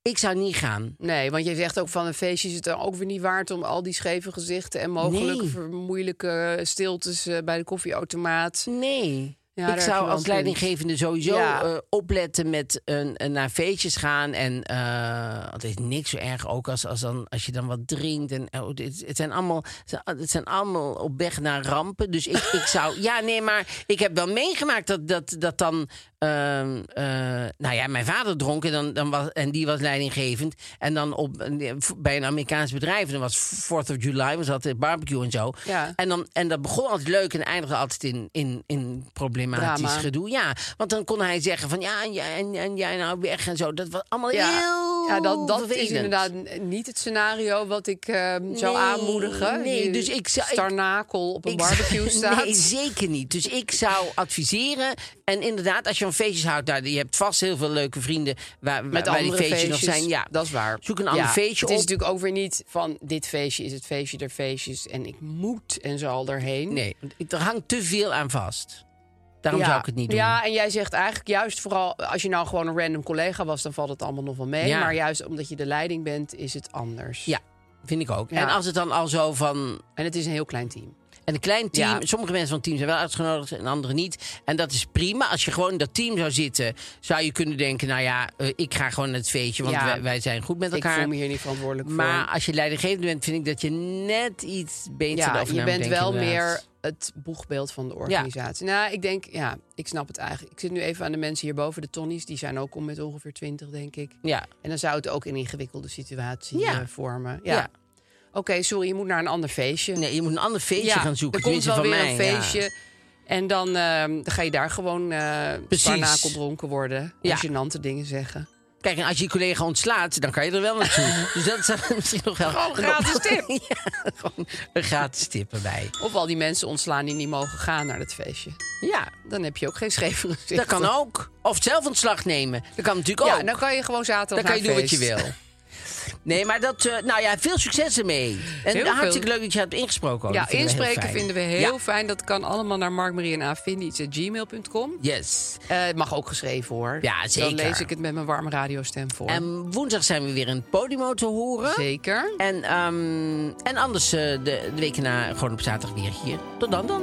B: ik zou niet gaan.
E: Nee, want je zegt ook van een feestje is het dan ook weer niet waard om al die scheve gezichten en mogelijke
B: Nee.
E: ver- moeilijke stiltes eh, bij de koffieautomaat.
B: Nee.
E: Ja, daar
B: ik
E: heb je
B: zou als
E: wel een punt.
B: leidinggevende sowieso
E: Ja.
B: eh, opletten met een, een naar feestjes gaan. En eh het is niks zo erg ook als, als, dan, als je dan wat drinkt. En, oh, het, het zijn allemaal, het zijn allemaal op weg naar rampen. Dus ik, ik zou. Ja, nee, maar ik heb wel meegemaakt dat, dat, dat dan. ehm, eh, nou ja, mijn vader dronk en, dan, dan was, en die was leidinggevend. En dan op, een- bij een Amerikaans bedrijf. En dan was 4th of July, was dat barbecue en zo.
E: Ja.
B: En, dan, en dat begon altijd leuk en eindigde altijd in, in, in problematisch
E: Drama.
B: gedoe. Ja, want dan kon hij zeggen van ja, en, jij- en, en jij nou weg en zo. Dat was allemaal heel
E: ja dat, dat is
B: vervelend.
E: inderdaad n- niet het scenario wat ik ehm, zou
B: Nee,
E: aanmoedigen.
B: nee,
E: Die
B: dus ik zou- ik-
E: Starnakel op een
B: Ik-
E: barbecue staat.
B: Nee, zeker niet. Dus ik zou adviseren. En inderdaad, als je van feestjes houdt, nou, je hebt vast heel veel leuke vrienden waar, waar,
E: Met
B: waar die
E: andere
B: feestjes,
E: feestjes,
B: nog zijn. Ja,
E: dat is waar.
B: Zoek een ander
E: Ja,
B: feestje
E: Het is
B: op.
E: natuurlijk ook weer niet van dit feestje is het feestje der feestjes en ik moet en zal erheen.
B: Nee, er hangt te veel aan vast. Daarom
E: ja.
B: zou ik het niet doen.
E: Ja, en jij zegt eigenlijk juist vooral... als je nou gewoon een random collega was, dan valt het allemaal nog wel mee.
B: Ja.
E: Maar juist omdat je de leiding bent, is het anders.
B: Ja, vind ik ook.
E: Ja.
B: En als het dan al zo van
E: En het is een heel klein team.
B: En een klein team,
E: Ja.
B: sommige mensen van het team zijn wel uitgenodigd en anderen niet. En dat is prima. Als je gewoon in dat team zou zitten, zou je kunnen denken: nou ja, eh, ik ga gewoon naar het feestje, want
E: Ja.
B: wij, wij zijn goed met
E: Ik
B: elkaar.
E: voel me hier niet verantwoordelijk
B: maar
E: voor.
B: als je leidinggevende bent, vind ik dat je net iets beter
E: Ja,
B: erover
E: je
B: na moet
E: bent
B: denken,
E: wel meer
B: inderdaad.
E: het boegbeeld van de organisatie. Nou, ik denk, ja, ik snap het eigenlijk. Ik zit nu even aan de mensen hierboven, de Tonnies. Die zijn ook om met ongeveer twintig, denk ik.
B: Ja,
E: En dan zou het ook een ingewikkelde situatie
B: Ja.
E: eh, vormen. Ja.
B: Ja.
E: Oké, sorry, je moet naar een ander feestje.
B: nee, je moet een ander feestje gaan zoeken.
E: Er komt wel
B: tenminste van
E: weer een
B: mij, ja.
E: feestje. En dan ehm, ga je daar gewoon eh
B: Precies.
E: starnakel dronken worden.
B: Ja.
E: Ja. Gênante dingen zeggen.
B: Kijk, en als je je collega ontslaat, dan kan je er wel naartoe. dus dat is misschien nog wel...
E: Gewoon een gratis tip.
B: ja, gewoon een gratis tip erbij.
E: Of al die mensen ontslaan die niet mogen gaan naar dat feestje.
B: Ja,
E: Dan heb je ook geen scheve gezichten.
B: dat kan ook. Of zelf ontslag nemen. Dat kan natuurlijk
E: Ja, nou,
B: ook.
E: dan kan je gewoon
B: Dan
E: zaterdag
B: kan je
E: naar
B: doen wat
E: feest.
B: je wil. Nee, maar dat... eh, nou ja, veel succes ermee. En
E: Heel veel.
B: hartstikke leuk dat je hebt ingesproken. ook.
E: ja,
B: Oh, Dat vinden we heel
E: inspreken
B: fijn.
E: vinden we heel fijn. Dat kan allemaal naar markmarienaafvindiets.gmail.com.
B: Ja. Yes.
E: Eh, Het mag ook geschreven hoor.
B: Ja, zeker.
E: Dan lees ik het met mijn warme radiostem voor.
B: En woensdag zijn we weer in Podimo te horen.
E: Zeker.
B: En, ehm, en anders eh, de, de week na gewoon op zaterdag weer hier. Tot dan dan.